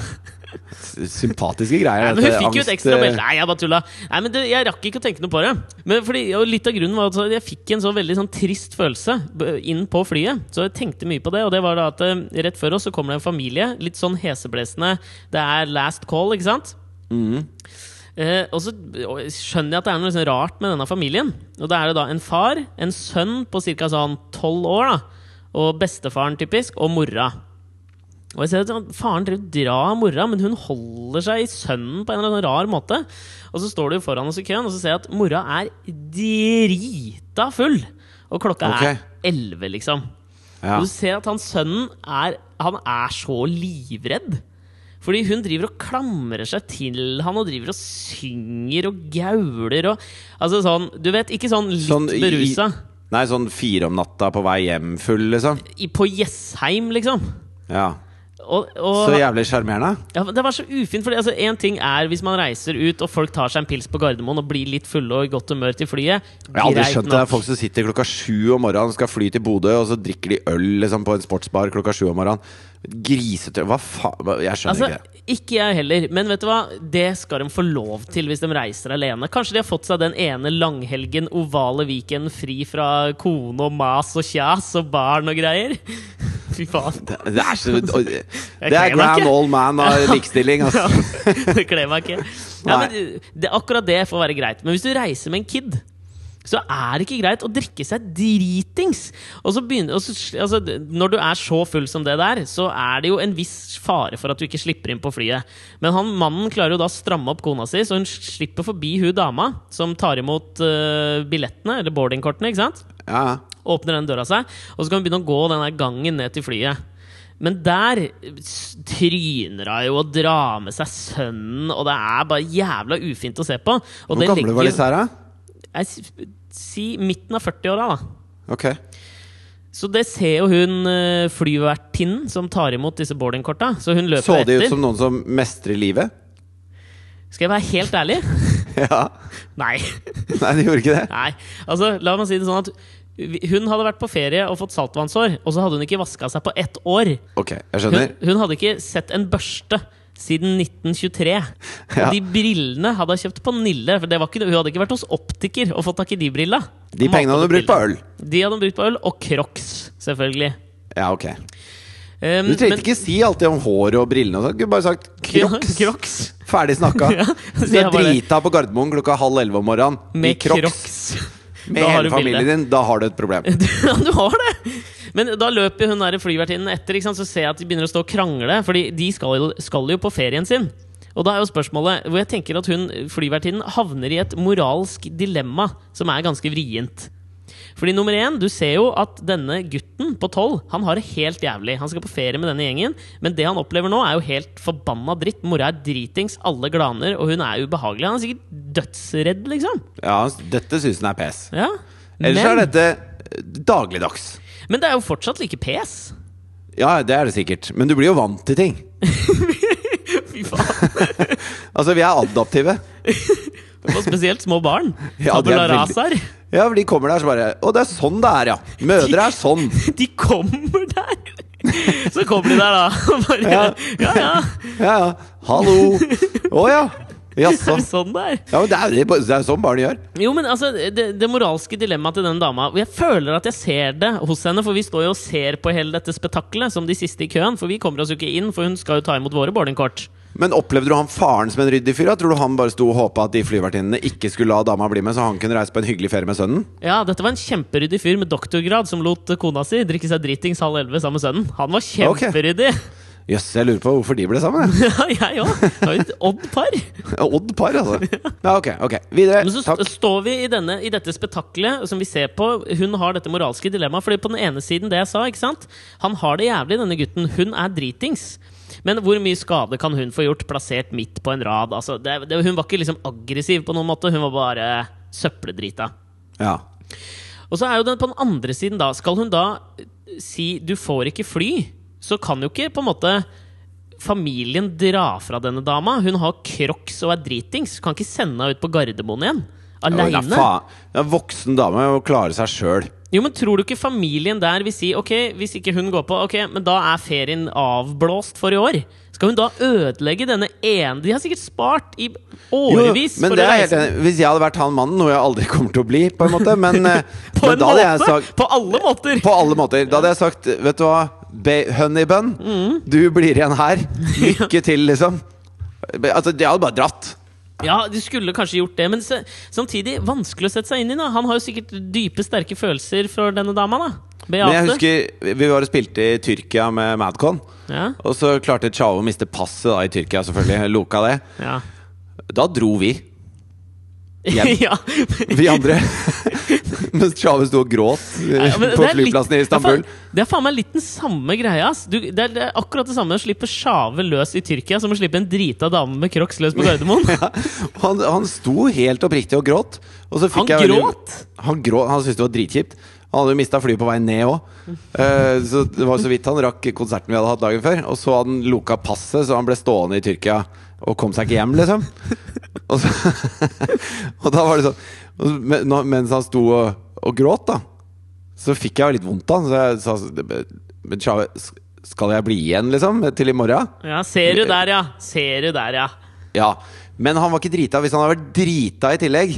Speaker 2: S- Sympatiske greier.
Speaker 1: Nei, men hun
Speaker 2: dette
Speaker 1: fikk jo et
Speaker 2: angst,
Speaker 1: ekstra
Speaker 2: eh,
Speaker 1: belte. Nei, jeg bare tulla. Nei, men det, jeg rakk ikke å tenke noe på det. Men fordi, og litt av grunnen var at jeg fikk en så veldig sånn trist følelse b- inn på flyet. Så jeg tenkte mye på det. Og det var da at eh, rett før oss så kommer det en familie, litt sånn heseblesende. Det er last call, ikke sant? Eh, og så og jeg skjønner jeg at det er noe liksom rart med denne familien. Og da er det da en far, en sønn på ca. sånn tolv år, da. Og bestefaren, typisk, og mora. Og jeg ser at sånn, Faren driver og drar mora, men hun holder seg i sønnen på en eller annen rar måte. Og så står du foran oss i køen, og så ser jeg at mora er drita full! Og klokka
Speaker 2: Ok.
Speaker 1: er elleve, liksom.
Speaker 2: eh, Ja.
Speaker 1: Og du ser at han sønnen er, han er så livredd. Fordi hun driver og klamrer seg til han og driver og synger og gauler og Altså sånn, du vet, ikke sånn litt
Speaker 2: Sånn i-
Speaker 1: berusa.
Speaker 2: Nei, sånn fire om natta på vei hjem full, liksom.
Speaker 1: I, på Jessheim, liksom.
Speaker 2: Ja.
Speaker 1: Og, og,
Speaker 2: Så jævlig sjarmerende.
Speaker 1: ja, men det var så ufint, for altså, en ting er hvis man reiser ut og folk tar seg en pils på Gardermoen og blir litt fulle og i godt humør til flyet.
Speaker 2: Jeg har aldri
Speaker 1: greit
Speaker 2: skjønt det.
Speaker 1: nok.
Speaker 2: det er folk som sitter klokka sju om morgenen skal fly til Bodø, og så drikker de øl liksom, på en sportsbar klokka sju om morgenen. Grisetøy Hva faen? Jeg skjønner ikke det.
Speaker 1: Altså, ikke jeg heller, men vet du hva? Det skal de få lov til hvis de reiser alene. Kanskje de har fått seg den ene langhelgen, ovale Viken, fri fra kone og mas og kjas og barn og greier. [laughs] Fy faen.
Speaker 2: Det, det
Speaker 1: [laughs]
Speaker 2: er, så, og- det
Speaker 1: kler
Speaker 2: er
Speaker 1: meg
Speaker 2: grand
Speaker 1: ikke.
Speaker 2: old man av likestilling, altså.
Speaker 1: [laughs] Ja, det kler meg ikke. Ja, men uh, det, akkurat det får være greit. Men hvis du reiser med en kid så er det ikke greit å drikke seg dritings! Og så begynner, og så, altså, når du er så full som det der, så er det jo en viss fare for at du ikke slipper inn på flyet. Men han mannen klarer jo da å stramme opp kona si, så hun slipper forbi hun dama som tar imot eh, billettene, eller boardingkortene, ikke sant?
Speaker 2: Ja, ja.
Speaker 1: åpner den døra seg, og så kan vi begynne å gå den der gangen ned til flyet. Men der s- tryner hun jo og drar med seg sønnen, og det er bare jævla ufint å se på. Og
Speaker 2: Hvor gamle var disse her, da?
Speaker 1: Jeg s- Si midten av 40-åra, da.
Speaker 2: Ok.
Speaker 1: Så det ser jo hun eh, flyvertinnen som tar imot disse boardingkorta. Så hun løper
Speaker 2: Så de
Speaker 1: etter.
Speaker 2: ut som noen som mestrer livet? [laughs]
Speaker 1: Skal jeg være helt ærlig?
Speaker 2: Ja.
Speaker 1: Nei.
Speaker 2: Nei, de gjorde ikke det.
Speaker 1: Nei. Altså, la meg si det sånn at vi- hun hadde vært på ferie og fått saltvannsår, og så hadde hun ikke vaska seg på ett år.
Speaker 2: Ok, jeg
Speaker 1: Hun, [laughs]
Speaker 2: skjønner.
Speaker 1: hun hadde ikke sett en børste siden 1923. Og
Speaker 2: Ja.
Speaker 1: De brillene hadde hun kjøpt på Nille. For det var ikke, noe- hun hadde ikke vært hos optiker og fått tak i de brilla.
Speaker 2: De pengene hadde du brukt på øl.
Speaker 1: De hadde hun brukt på øl, og Crocs, selvfølgelig.
Speaker 2: Ja, ok.
Speaker 1: Um,
Speaker 2: Du trengte ikke si alltid om håret og brillene og sånn. Du kunne bare sagt crocs.
Speaker 1: Crocs.
Speaker 2: Ferdig snakka.
Speaker 1: [laughs] Ja,
Speaker 2: Du
Speaker 1: det
Speaker 2: er
Speaker 1: var det.
Speaker 2: drita på Gardermoen klokka halv elleve om morgenen i
Speaker 1: Med
Speaker 2: crocs
Speaker 1: Crocs.
Speaker 2: med
Speaker 1: Da har
Speaker 2: hele
Speaker 1: du bildet.
Speaker 2: familien din. Da har du et problem.
Speaker 1: [laughs] Ja, du har det! Men da løper hun der flyvertinnen etter, ikke sant? så ser jeg at de begynner å stå og krangle. Fordi de skal jo, skal jo på ferien sin. Og da er jo spørsmålet hvor jeg tenker at hun flyvertinnen havner i et moralsk dilemma som er ganske vrient. Fordi nummer én, du ser jo at denne gutten på tolv Han har det helt jævlig. Han skal på ferie med denne gjengen, men det han opplever nå, er jo helt forbanna dritt. Mora er dritings, alle glaner, og hun er ubehagelig. Han er sikkert dødsredd, liksom.
Speaker 2: Ja, dette syns han er pes.
Speaker 1: Ja.
Speaker 2: Ellers er
Speaker 1: Men,
Speaker 2: dette eh, dagligdags.
Speaker 1: men det er jo fortsatt like pes.
Speaker 2: Ja, det er det sikkert. Men du blir jo vant til ting.
Speaker 1: [laughs] Fy faen.
Speaker 2: [laughs] Altså, vi er adaptive.
Speaker 1: Det var spesielt små barn.
Speaker 2: [laughs] Ja, de er
Speaker 1: Tabula
Speaker 2: veldig-
Speaker 1: rasar.
Speaker 2: Ja, for de kommer der så bare Å, det er sånn det er, ja! Mødre er sånn!
Speaker 1: [laughs] De kommer der! [laughs] Så kommer de der, da. [laughs] og Bare, ja. ja,
Speaker 2: Ja, ja. Hallo!
Speaker 1: [laughs]
Speaker 2: Å ja!
Speaker 1: Det
Speaker 2: Jaså.
Speaker 1: er sånn det er.
Speaker 2: Ja, men det er jo det er jo sånn barn gjør.
Speaker 1: Jo, men altså, det, det moralske dilemmaet til den dama Jeg føler at jeg ser det hos henne, for vi står jo og ser på hele dette spetakkelet som de siste i køen. For vi kommer oss jo ikke inn, for hun skal jo ta imot våre boardingkort.
Speaker 2: Men opplevde du han faren som en ryddig fyr? da? Tror du han bare sto og håpa at de flyvertinnene ikke skulle la dama bli med, så han kunne reise på en hyggelig ferie med sønnen?
Speaker 1: Ja, dette var en kjemperyddig fyr med doktorgrad som lot kona si drikke seg dritings halv elleve sammen med sønnen. Han var
Speaker 2: Ok.
Speaker 1: kjemperyddig! [laughs]
Speaker 2: Jøss, jeg lurer på hvorfor de ble sammen. jeg.
Speaker 1: Ja, jeg òg. Det var jo et odd par.
Speaker 2: Odd par,
Speaker 1: [laughs]
Speaker 2: altså. Ja, ok, ok. Videre.
Speaker 1: Men så
Speaker 2: Takk.
Speaker 1: st står vi i, denne, i dette spetakkelet som vi ser på. Hun har dette moralske dilemmaet. Fordi på den ene siden, det jeg sa, ikke sant? Han har det jævlig, denne gutten. Hun er dritings. Men hvor mye skade kan hun få gjort plassert midt på en rad? Altså, det, det, hun var ikke liksom aggressiv på noen måte. Hun var bare søppeldrita.
Speaker 2: Ja.
Speaker 1: Og så er jo den på den andre siden, da. Skal hun da eh, si 'du får ikke fly', så kan jo ikke på en måte familien dra fra denne dama. Hun har crocs og er dritings. Kan ikke sende henne ut på Gardermoen igjen.
Speaker 2: Ja,
Speaker 1: Aleine.
Speaker 2: faen. En voksen dame må klare seg sjøl.
Speaker 1: Jo, men tror du ikke familien der vil si Ok, hvis ikke hun går på Ok, men da er ferien avblåst for i år? Skal hun da ødelegge denne ene De har sikkert spart i årevis
Speaker 2: Men
Speaker 1: for
Speaker 2: det
Speaker 1: å
Speaker 2: er helt
Speaker 1: reise [laughs]
Speaker 2: enig. Hvis jeg hadde vært han mannen, noe jeg aldri kommer til å bli, på en måte Men, eh,
Speaker 1: på
Speaker 2: men
Speaker 1: en
Speaker 2: da hadde jeg
Speaker 1: måte!
Speaker 2: sagt
Speaker 1: På alle måter!
Speaker 2: På alle måter. Da hadde jeg sagt, vet du hva, Ba- honeybun,
Speaker 1: Mm.
Speaker 2: du blir igjen her.
Speaker 1: [laughs]
Speaker 2: Lykke til, liksom. Altså, jeg hadde bare dratt.
Speaker 1: Ja, de skulle kanskje gjort det, men se, samtidig vanskelig å sette seg inn i. da Han har jo sikkert dype, sterke følelser for denne dama. da
Speaker 2: Men
Speaker 1: Beate.
Speaker 2: jeg husker vi var og spilte i Tyrkia med Madcon.
Speaker 1: ja.
Speaker 2: Og så klarte Chao å miste passet da i Tyrkia, selvfølgelig. Loka det.
Speaker 1: Ja.
Speaker 2: Da dro vi. Hjem.
Speaker 1: [laughs] ja.
Speaker 2: Vi andre. [laughs] Mens Chao sto og gråt eh,
Speaker 1: Ja, men det
Speaker 2: [laughs] på
Speaker 1: er litt-
Speaker 2: flyplassen
Speaker 1: det
Speaker 2: i
Speaker 1: er
Speaker 2: Istanbul.
Speaker 1: faen- Det er faen meg litt den samme greia. ass. Du, det, er, det er akkurat det samme å slippe sjave løs i Tyrkia som å slippe en drita dame med crocs løs på Gardermoen.
Speaker 2: [laughs] Ja, han, han sto helt oppriktig og gråt. Og så
Speaker 1: Han
Speaker 2: fikk jeg veldig-
Speaker 1: gråt?
Speaker 2: han gråt? Han syntes det var dritkjipt. Han hadde jo mista flyet på vei ned òg. så det var så vidt han rakk konserten vi hadde hatt dagen før. Og så hadde han loka passet, så han ble stående i Tyrkia og kom seg ikke hjem,
Speaker 1: [laughs]
Speaker 2: liksom. Og, så, [laughs] og da var det sånn og så, men- nå- Mens han sto og, og gråt, da, så fikk jeg jo litt vondt av han. Så jeg sa Men Tjave, skal jeg bli igjen, liksom? Til i morgen?
Speaker 1: Ja, ser du der, ja. Ser du der, ja.
Speaker 2: Ja, men han var ikke drita hvis han hadde vært drita i tillegg.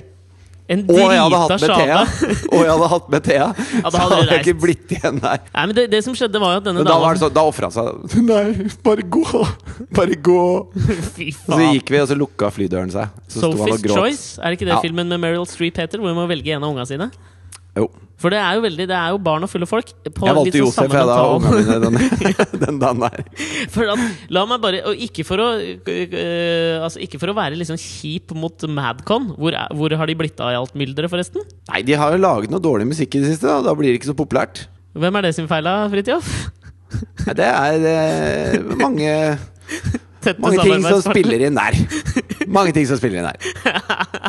Speaker 1: En
Speaker 2: Og jeg hadde hatt
Speaker 1: drita
Speaker 2: med Thea.
Speaker 1: sjave.
Speaker 2: Og jeg hadde hatt med Thea.
Speaker 1: da
Speaker 2: Så
Speaker 1: hadde du
Speaker 2: hadde jeg ikke
Speaker 1: reist.
Speaker 2: blitt igjen der.
Speaker 1: Nei, men det, det som skjedde, var jo at denne
Speaker 2: Men da
Speaker 1: dama
Speaker 2: var det sånn, da ofra han seg. Nei, bare gå! Bare gå!
Speaker 1: [laughs] Fy
Speaker 2: Og sånn- så
Speaker 1: faen.
Speaker 2: gikk vi, og så lukka flydøren seg. Så sto han
Speaker 1: Sophie's
Speaker 2: og gråt.
Speaker 1: Choice, er det ikke det
Speaker 2: Ja.
Speaker 1: filmen med Meryl Streep heter? Hvor hun må velge en av unga sine?
Speaker 2: Jo.
Speaker 1: For det er jo veldig, det er jo barn og fulle folk. På
Speaker 2: Jeg
Speaker 1: litt
Speaker 2: valgte
Speaker 1: sånn
Speaker 2: Josef,
Speaker 1: samme
Speaker 2: jeg, da.
Speaker 1: mental-
Speaker 2: Ungene mine
Speaker 1: [laughs]
Speaker 2: den, den dagen der.
Speaker 1: For at, la meg bare Og ikke for å øh, Altså ikke for å være liksom kjip mot Madcon. Hvor, er- hvor har de blitt av i alt mylderet, forresten?
Speaker 2: Nei, de har jo laget noe dårlig musikk i det siste, da. Da blir det ikke så populært.
Speaker 1: Hvem er det sin feil, da, Fridtjof? [laughs]
Speaker 2: Nei, Det er eh, mange,
Speaker 1: Tette
Speaker 2: mange ting som
Speaker 1: samarbeidspartner.
Speaker 2: spiller inn der. Mange ting som spiller inn der.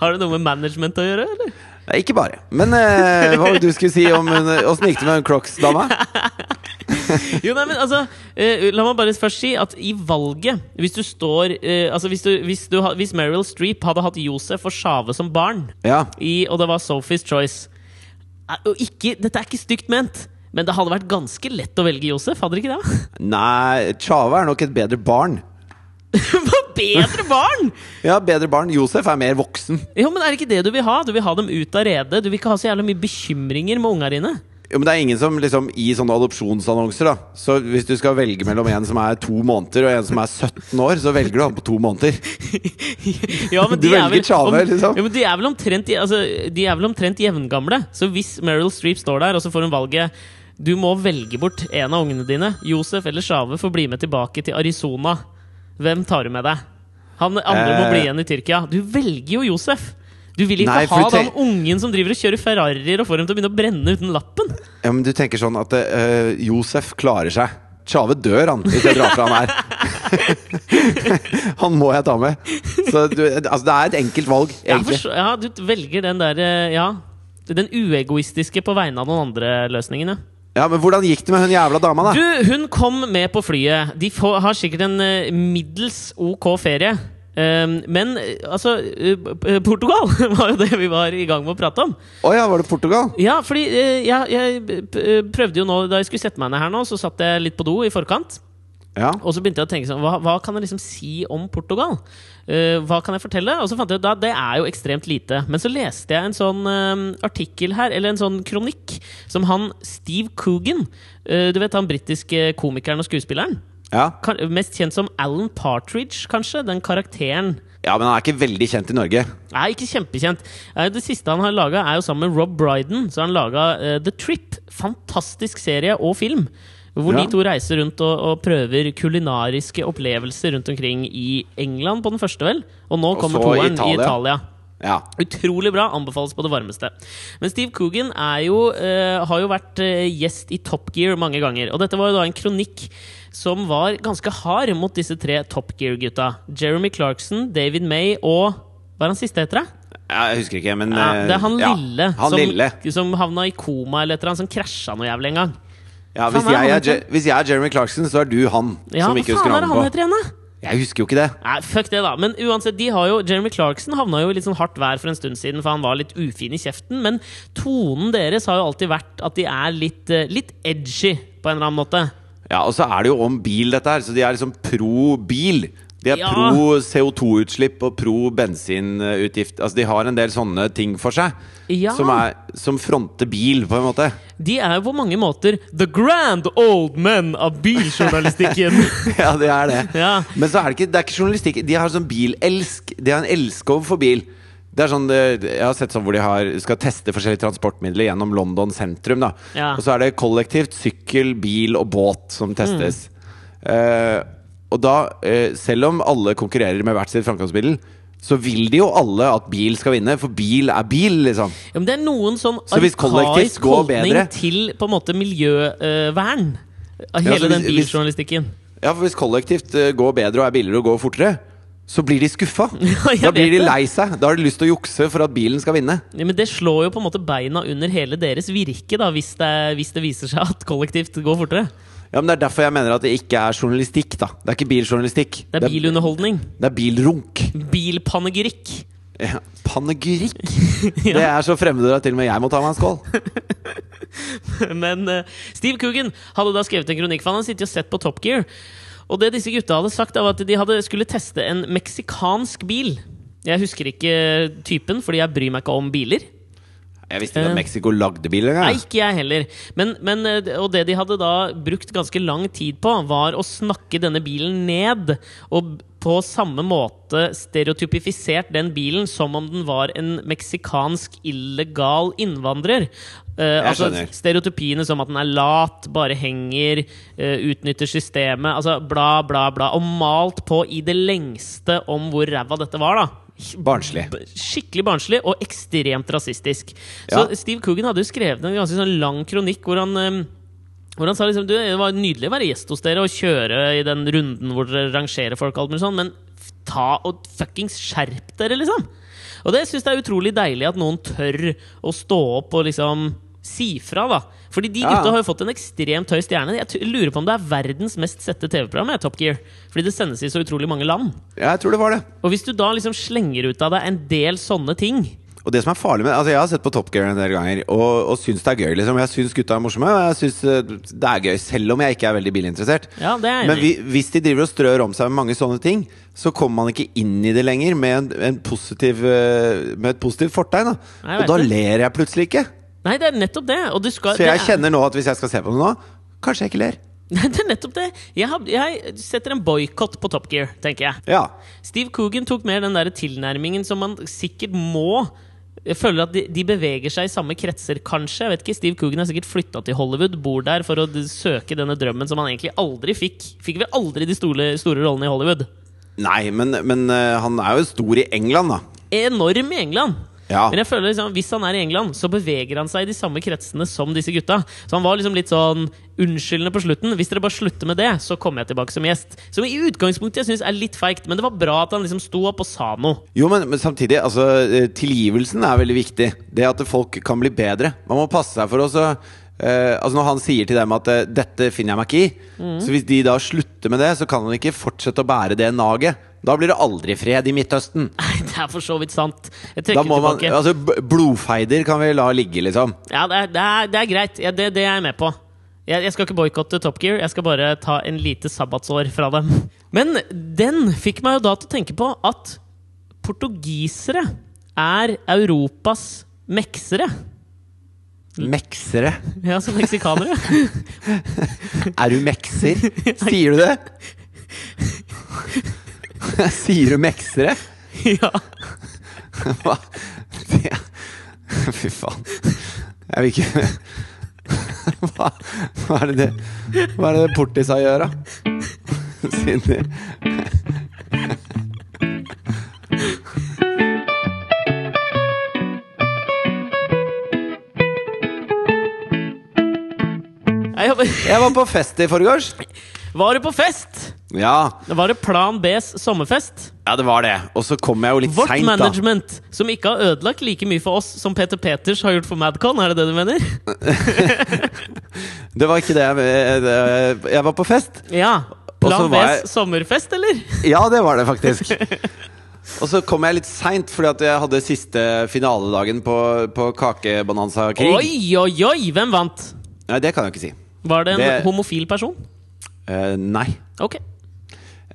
Speaker 1: Har det noe med management å gjøre, eller?
Speaker 2: Nei, ikke bare. Men eh, hva var det du skulle si om hun- åssen gikk det med hun Crocs-dama?
Speaker 1: Jo, nei, men altså eh, La meg bare først si at i valget Hvis du står eh, Altså hvis, du, hvis, du, ha- hvis Meryl Streep hadde hatt Josef og Sjave som barn
Speaker 2: Ja.
Speaker 1: i, og det var Sophie's Choice. Eh, Og ikke, dette er ikke stygt ment, men det hadde vært ganske lett å velge Josef. Hadde det ikke det? [laughs]
Speaker 2: Nei, Tjave er nok et bedre barn.
Speaker 1: Hva bedre barn!
Speaker 2: Ja, bedre barn. Josef er mer voksen.
Speaker 1: Jo, men Er det ikke det du vil ha? Du vil ha dem ut av redet. Du vil ikke ha så jævlig mye bekymringer med unga
Speaker 2: [laughs]
Speaker 1: dine.
Speaker 2: Jo, men det er ingen som liksom i sånne adopsjonsannonser, da Så hvis du skal velge mellom en som er to måneder og en som er 17 år, så velger du han på to måneder.
Speaker 1: Ja, men
Speaker 2: Du
Speaker 1: de er
Speaker 2: velger
Speaker 1: vel
Speaker 2: Tjave,
Speaker 1: om-
Speaker 2: liksom.
Speaker 1: Jo, men de er vel omtrent, altså, de er vel omtrent jevngamle. Så hvis Meryl Streep står der, og så får hun valget Du må velge bort en av ungene dine. Josef eller Sjave får bli med tilbake til Arizona. Hvem tar du med deg? Han andre må
Speaker 2: Eh.
Speaker 1: bli igjen i Tyrkia. Du velger jo Josef! Du vil ikke
Speaker 2: Nei, for
Speaker 1: ha den
Speaker 2: tenk-
Speaker 1: ungen som driver og kjører Ferrarier og får dem til å begynne å brenne uten lappen!
Speaker 2: Ja, men du tenker sånn at eh, Josef klarer seg. Tjave dør, han, hvis jeg drar fra han her. [laughs] han må jeg ta med. Så du, altså, det er et enkelt valg,
Speaker 1: Jeg
Speaker 2: egentlig.
Speaker 1: forstår- ja, du velger den der eh, Ja. Den uegoistiske på vegne av noen andre løsningene.
Speaker 2: Ja, Men hvordan gikk det med hun jævla dama,
Speaker 1: Ah.
Speaker 2: da?
Speaker 1: Du, hun kom med på flyet. De få, har sikkert en eh, middels ok ferie. Ehm, men eh, altså eh, eh, Portugal [laughs] var jo det vi var i gang med å prate om.
Speaker 2: Å ja, var det Portugal?
Speaker 1: Ja, fordi eh, jeg, jeg eh, prøvde jo nå Da jeg skulle sette meg ned her nå, så satt jeg litt på do i forkant.
Speaker 2: Ja.
Speaker 1: Og så begynte jeg å tenke sånn Hva, hva kan jeg liksom si om Portugal? Eh, hva kan jeg fortelle? Og så fant jeg ut da, det er jo ekstremt lite. Men så leste jeg en sånn eh, artikkel her, eller en sånn kronikk, som han Steve Coogan eh, Du vet han britiske komikeren og skuespilleren?
Speaker 2: ja.
Speaker 1: Kan, mest kjent som Alan Partridge, kanskje? Den karakteren.
Speaker 2: Ja, men han er ikke veldig kjent i Norge.
Speaker 1: Nei, ikke kjempekjent. Eh, Det siste han har laga, er jo sammen med Rob Brydon. Så har han laga The Trip. Fantastisk serie og film. Hvor
Speaker 2: Ja.
Speaker 1: de to reiser rundt og, og prøver kulinariske opplevelser rundt omkring i England på den første, vel. Og nå
Speaker 2: Og
Speaker 1: kommer
Speaker 2: så
Speaker 1: toeren
Speaker 2: Italia.
Speaker 1: i Italia.
Speaker 2: Ja.
Speaker 1: Utrolig bra. Anbefales på det varmeste. Men Steve Coogan er jo, eh, har jo vært eh, gjest i Top Gear mange ganger. Og dette var jo da en kronikk som var ganske hard mot disse tre Top Gear-gutta. Jeremy Clarkson, David May og Hva er han siste heter, da?
Speaker 2: Ja, Jeg husker ikke, men
Speaker 1: Ja,
Speaker 2: eh,
Speaker 1: det er han
Speaker 2: ja.
Speaker 1: lille,
Speaker 2: Han
Speaker 1: som,
Speaker 2: lille.
Speaker 1: som havna i koma eller et eller annet, som krasja noe jævlig en gang.
Speaker 2: Ja,
Speaker 1: Faen,
Speaker 2: hvis,
Speaker 1: hva er
Speaker 2: jeg
Speaker 1: han
Speaker 2: er, Je- hvis jeg er Jeremy Clarkson, så er du han
Speaker 1: Ja,
Speaker 2: som
Speaker 1: hva
Speaker 2: ikke husker
Speaker 1: faen er det han
Speaker 2: navnet på.
Speaker 1: heter igjen, da?
Speaker 2: Jeg husker jo ikke det.
Speaker 1: Nei, fuck det, da. Men uansett, de har jo Jeremy Clarkson havna jo i litt sånn hardt vær for en stund siden, for han var litt ufin i kjeften. Men tonen deres har jo alltid vært at de er litt, eh, litt edgy, på en eller annen måte.
Speaker 2: Ja, Og så er det jo om bil, dette her. Så de er liksom pro bil. De er
Speaker 1: Ja.
Speaker 2: pro CO2-utslipp og pro bensinutgift. Altså, de har en del sånne ting for seg
Speaker 1: Ja.
Speaker 2: som, er, som fronter bil, på en måte.
Speaker 1: De er jo på mange måter the grand old men av biljournalistikken.
Speaker 2: [laughs] Ja, det er det.
Speaker 1: Ja.
Speaker 2: Men så er det ikke, det er ikke journalistikk. De har sånn bilelsk. De har en elskov for bil. Det er sånn, eh, jeg har sett sånn hvor de har, skal teste forskjellige transportmidler gjennom London sentrum. Da.
Speaker 1: Ja. Mm.
Speaker 2: Og så er det kollektivt sykkel, bil og båt som testes. Eh, og da, eh, selv om alle konkurrerer med hvert sitt framkomstmiddel, så vil de jo alle at bil skal vinne, for bil er bil, liksom.
Speaker 1: ja, men det er noen sånn
Speaker 2: Så hvis kollektivt
Speaker 1: arkaisk
Speaker 2: går
Speaker 1: holdning
Speaker 2: bedre-
Speaker 1: til på en måte miljøvern. Av
Speaker 2: Ja,
Speaker 1: hele
Speaker 2: så
Speaker 1: den
Speaker 2: hvis- hvis-
Speaker 1: biljournalistikken.
Speaker 2: Ja, for hvis kollektivt eh, går bedre og er billigere og går fortere, så blir de
Speaker 1: [laughs]
Speaker 2: skuffa.
Speaker 1: jeg
Speaker 2: da blir
Speaker 1: vet
Speaker 2: de
Speaker 1: det.
Speaker 2: lei seg. Da har de lyst til å jukse for at bilen skal vinne.
Speaker 1: Ja, men det slår jo på en måte beina under hele deres virke, da, hvis det, hvis det viser seg at kollektivt går fortere.
Speaker 2: Ja, men Det er derfor jeg mener at det ikke er journalistikk. da Det er ikke biljournalistikk.
Speaker 1: Det er bilunderholdning.
Speaker 2: det er bilrunk.
Speaker 1: Bilpanegyrikk.
Speaker 2: Ja, panegyrikk! Det er så fremmedord at til og med jeg må ta meg en skål.
Speaker 1: [laughs] Men eh, Steve Coogan hadde da skrevet en kronikk, for han hadde sittet og sett på Top Gear. Og det disse gutta hadde sagt, da, var at de hadde skulle teste en meksikansk bil. Jeg husker ikke typen, fordi jeg bryr meg ikke om biler.
Speaker 2: Jeg visste
Speaker 1: Eh.
Speaker 2: ikke at Mexico lagde biler
Speaker 1: Nei,
Speaker 2: engang.
Speaker 1: ikke jeg heller. Men, men, eh, og det de hadde da brukt ganske lang tid på, var å snakke denne bilen ned. Og b- på samme måte stereotypifisert den bilen som om den var en meksikansk illegal innvandrer. Eh, altså
Speaker 2: skjønner.
Speaker 1: Stereotypiene som at den er lat, bare henger, eh, utnytter systemet, altså bla, bla, bla. Og malt på i det lengste om hvor ræva dette var, da
Speaker 2: Barnslig.
Speaker 1: b- skikkelig barnslig og ekstremt rasistisk. Så
Speaker 2: Ja.
Speaker 1: Steve Coogan hadde jo skrevet en ganske sånn lang kronikk hvor han eh, hvor han sa liksom, du, Det var nydelig å være gjest hos dere og kjøre i den runden hvor dere rangerer folk, og alt mulig sånn, men f- ta og fuckings skjerp dere, liksom! Og det syns jeg er utrolig deilig at noen tør å stå opp og liksom si fra, da. Fordi de
Speaker 2: Ja.
Speaker 1: gutta har jo fått en ekstremt høy stjerne. Jeg t lurer på om det er verdens mest sette TV-program, jeg, Top Gear. Fordi det sendes i så utrolig mange land.
Speaker 2: Ja, jeg tror det var det.
Speaker 1: Og hvis du da liksom slenger ut av deg en del sånne ting
Speaker 2: Og det som er farlig med Altså Jeg har sett på Top Gear en del ganger og, og syns det er gøy. liksom Jeg syns gutta er morsomme, og jeg syns eh, det er gøy, selv om jeg ikke er veldig bilinteressert.
Speaker 1: Ja, det er jeg enig
Speaker 2: Men
Speaker 1: i.
Speaker 2: vi, hvis de driver og strør om seg med mange sånne ting, så kommer man ikke inn i det lenger med, en, en positiv, eh, med et positivt fortegn. Da.
Speaker 1: Nei, jeg vet
Speaker 2: og da
Speaker 1: det.
Speaker 2: ler jeg plutselig ikke.
Speaker 1: Nei, det er nettopp det. Og du skal,
Speaker 2: Så jeg
Speaker 1: det er,
Speaker 2: kjenner nå at hvis jeg skal se på det nå, kanskje jeg ikke ler.
Speaker 1: [laughs] Nei, det er nettopp det. Jeg, har, jeg setter en boikott på Top Gear, tenker jeg.
Speaker 2: Ja.
Speaker 1: Steve Coogan tok mer den der tilnærmingen som man sikkert må jeg føler at de, de beveger seg i samme kretser, kanskje. Jeg vet ikke, Steve Coogan er sikkert flytta til Hollywood, bor der for å d- søke denne drømmen som han egentlig aldri fikk. Fikk vel aldri de store, store rollene i Hollywood.
Speaker 2: Nei, men, men eh, han er jo stor i England, da.
Speaker 1: enorm i England.
Speaker 2: Ja.
Speaker 1: Men jeg føler liksom, hvis han er i England, så beveger han seg i de samme kretsene som disse gutta. Så han var liksom litt sånn unnskyldende på slutten. Hvis dere bare slutter med det, så kommer jeg tilbake som gjest. Som i utgangspunktet jeg synes er litt feigt, men det var bra at han liksom sto opp og sa noe.
Speaker 2: Jo, men, men samtidig, altså eh, tilgivelsen er veldig viktig. Det at folk kan bli bedre. Man må passe seg for å så, eh, altså Når han sier til dem at eh, 'dette finner jeg meg ikke i', så hvis de da slutter med det, så kan han ikke fortsette å bære det naget. Da blir det aldri fred i Midtøsten.
Speaker 1: Nei, det er for så vidt sant. Jeg trekker
Speaker 2: Da må man,
Speaker 1: tilbake.
Speaker 2: altså, b- blodfeider kan vi la ligge, liksom.
Speaker 1: Ja, det er, det er, det er greit. Ja, det, det er jeg med på. Jeg, jeg skal ikke boikotte Top Gear, jeg skal bare ta en lite sabbatsår fra dem. Men den fikk meg jo da til å tenke på at portugisere er Europas meksere.
Speaker 2: Meksere.
Speaker 1: Ja, som meksikanere.
Speaker 2: [laughs] Er du mekser? Sier du det? [laughs] Sier du meksere?
Speaker 1: ja.
Speaker 2: Hva? Det- Fy faen. Jeg vil ikke Hva, hva er det det Hva er det det portisa gjør, da? Siden de
Speaker 1: Nei, jeg bare-
Speaker 2: Jeg var på fest i forgårs.
Speaker 1: Var du på fest?
Speaker 2: Ja,
Speaker 1: Det var det Plan Bs sommerfest.
Speaker 2: ja, det var det. Og så kom jeg jo litt
Speaker 1: Vårt
Speaker 2: seint, da.
Speaker 1: management, som ikke har ødelagt like mye for oss som Peter Peters har gjort for Madcon, er det det du mener?
Speaker 2: Det var ikke det jeg det- Jeg var på fest.
Speaker 1: Ja.
Speaker 2: Og så
Speaker 1: Plan Bs
Speaker 2: var jeg-
Speaker 1: sommerfest, eller?
Speaker 2: Ja, det var det faktisk. Og så kom jeg litt seint, fordi at jeg hadde siste finaledagen på, på Kakebonanza-krig.
Speaker 1: Oi, oi, oi! Hvem vant?
Speaker 2: Nei, det kan jeg jo ikke si.
Speaker 1: Var det en
Speaker 2: Det-
Speaker 1: homofil person?
Speaker 2: Eh, nei.
Speaker 1: Ok.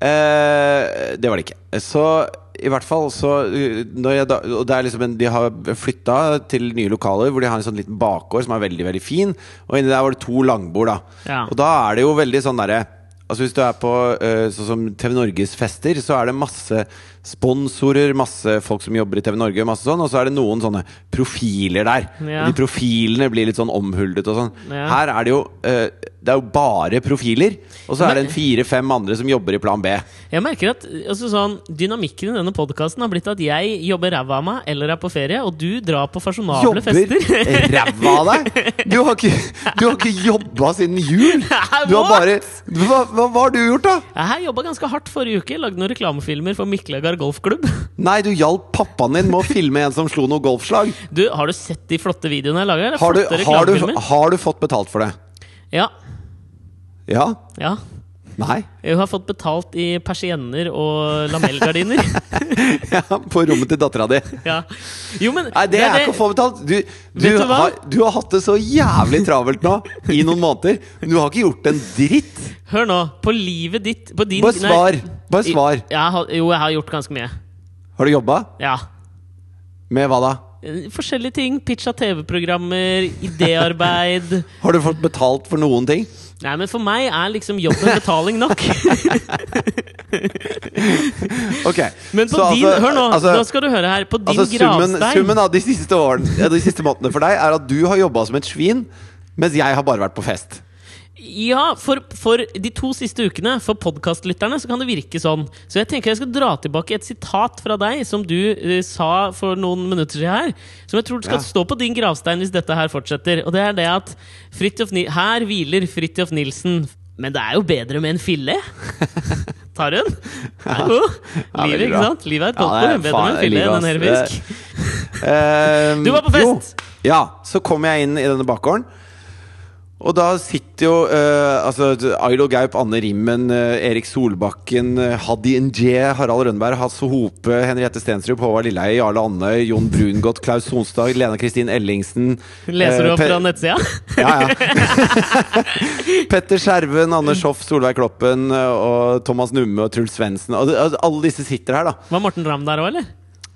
Speaker 2: Eh, det var det ikke. Så i hvert fall så uh, når jeg da, og det er liksom en, De har flytta til nye lokaler hvor de har en sånn liten bakgård som er veldig veldig fin. Og inni der var det to langbord. da
Speaker 1: Ja.
Speaker 2: Og da er det jo veldig sånn derre Altså Hvis du er på eh, sånn som TV Norges fester, så er det masse sponsorer, masse folk som jobber i TV Norge, masse sånn, og så er det noen sånne profiler der.
Speaker 1: Ja.
Speaker 2: Og De profilene blir litt sånn omhuldet og sånn.
Speaker 1: Ja.
Speaker 2: Her er det jo eh, Det er jo bare profiler, og så er
Speaker 1: Men-
Speaker 2: det en fire-fem andre som jobber i Plan B.
Speaker 1: Jeg merker at altså, sånn, Dynamikken i denne podkasten har blitt at jeg jobber ræva av meg eller er på ferie, og du drar på fasjonable fester. [laughs]
Speaker 2: Jobber ræva av deg! Du har ikke, du har ikke jobba
Speaker 1: [laughs]
Speaker 2: siden jul! Du har
Speaker 1: What?
Speaker 2: bare hva, hva, hva har du gjort, da?
Speaker 1: Jeg jobba ganske hardt forrige uke. Lagde noen reklamefilmer for Miklagard golfklubb. [laughs]
Speaker 2: Nei, du hjalp pappaen din med å filme en som slo noe golfslag.
Speaker 1: Du, Har du sett de flotte videoene jeg lager? eller?
Speaker 2: Har du,
Speaker 1: flotte
Speaker 2: har, du,
Speaker 1: reklamefilmer?
Speaker 2: har du fått betalt for det?
Speaker 1: Ja.
Speaker 2: Ja?
Speaker 1: ja.
Speaker 2: Nei? [laughs]
Speaker 1: Jeg har fått betalt i persienner og lamellgardiner. [laughs]
Speaker 2: Ja, på rommet til dattera di.
Speaker 1: ja. Jo, men
Speaker 2: Nei, det
Speaker 1: er
Speaker 2: er ikke å få betalt! Du, du,
Speaker 1: Vet du hva?
Speaker 2: har, du har hatt det så jævlig travelt nå i noen måneder. Men du har ikke gjort en dritt!
Speaker 1: Hør nå. På livet ditt på din,
Speaker 2: Bare
Speaker 1: nei,
Speaker 2: svar! Bare
Speaker 1: I-
Speaker 2: svar.
Speaker 1: Jeg har, jo, jeg har gjort ganske mye.
Speaker 2: Har du jobba?
Speaker 1: Ja.
Speaker 2: Med hva da?
Speaker 1: Eh, Forskjellige ting. Pitcha TV-programmer, idéarbeid. [laughs]
Speaker 2: Har du fått betalt for noen ting?
Speaker 1: Nei, men for meg er liksom jobben betaling nok. [laughs]
Speaker 2: Ok.
Speaker 1: Men på
Speaker 2: så
Speaker 1: din,
Speaker 2: altså-
Speaker 1: hør nå,
Speaker 2: altså-
Speaker 1: nå skal du høre her. På din
Speaker 2: altså, summen,
Speaker 1: gravstein
Speaker 2: summen av de siste, årene, ja, de siste månedene for deg er at du har jobba som et svin, mens jeg har bare vært på fest.
Speaker 1: Ja, for, for de to siste ukene, for podkastlytterne, så kan det virke sånn. Så jeg tenker jeg skal dra tilbake et sitat fra deg som du eh, sa for noen minutter siden her. Som jeg tror skal
Speaker 2: Ja.
Speaker 1: stå på din gravstein hvis dette her fortsetter. Og det er det at Fridtjof Ni Her hviler Fridtjof Nilsen. Men det er jo bedre med en fille. [laughs] Tar hun? Det er god.
Speaker 2: Ja, veldig
Speaker 1: Livet, ikke
Speaker 2: bra.
Speaker 1: sant? Livet er et
Speaker 2: Ja,
Speaker 1: godt
Speaker 2: det er
Speaker 1: ord. Bedre med
Speaker 2: faen-
Speaker 1: en fille
Speaker 2: livet,
Speaker 1: enn en
Speaker 2: ass.
Speaker 1: hervisk.
Speaker 2: Ehm,
Speaker 1: Du var på fest!
Speaker 2: Jo, ja. Så kom jeg inn i denne bakgården. Og da sitter jo eh, altså, Ailo Gaup, Anne Rimmen, eh, Erik Solbakken, eh, Haddy Nje, Harald Rønneberg, Hasse Hope, Henriette Stensrup, Håvard Lilleheie, Jarle Andøy, Jon Brungot, Klaus Sonstad, Lena Kristin Ellingsen
Speaker 1: Leser du
Speaker 2: eh,
Speaker 1: opp
Speaker 2: Per-
Speaker 1: fra nettsida?
Speaker 2: Ja, [laughs] ja. Petter Skjerven, Anders Hoff, Solveig Kloppen eh, og Thomas Numme og Truls Svendsen. Og det- altså, Alle disse sitter her, da.
Speaker 1: Var Morten Ramm der òg, eller?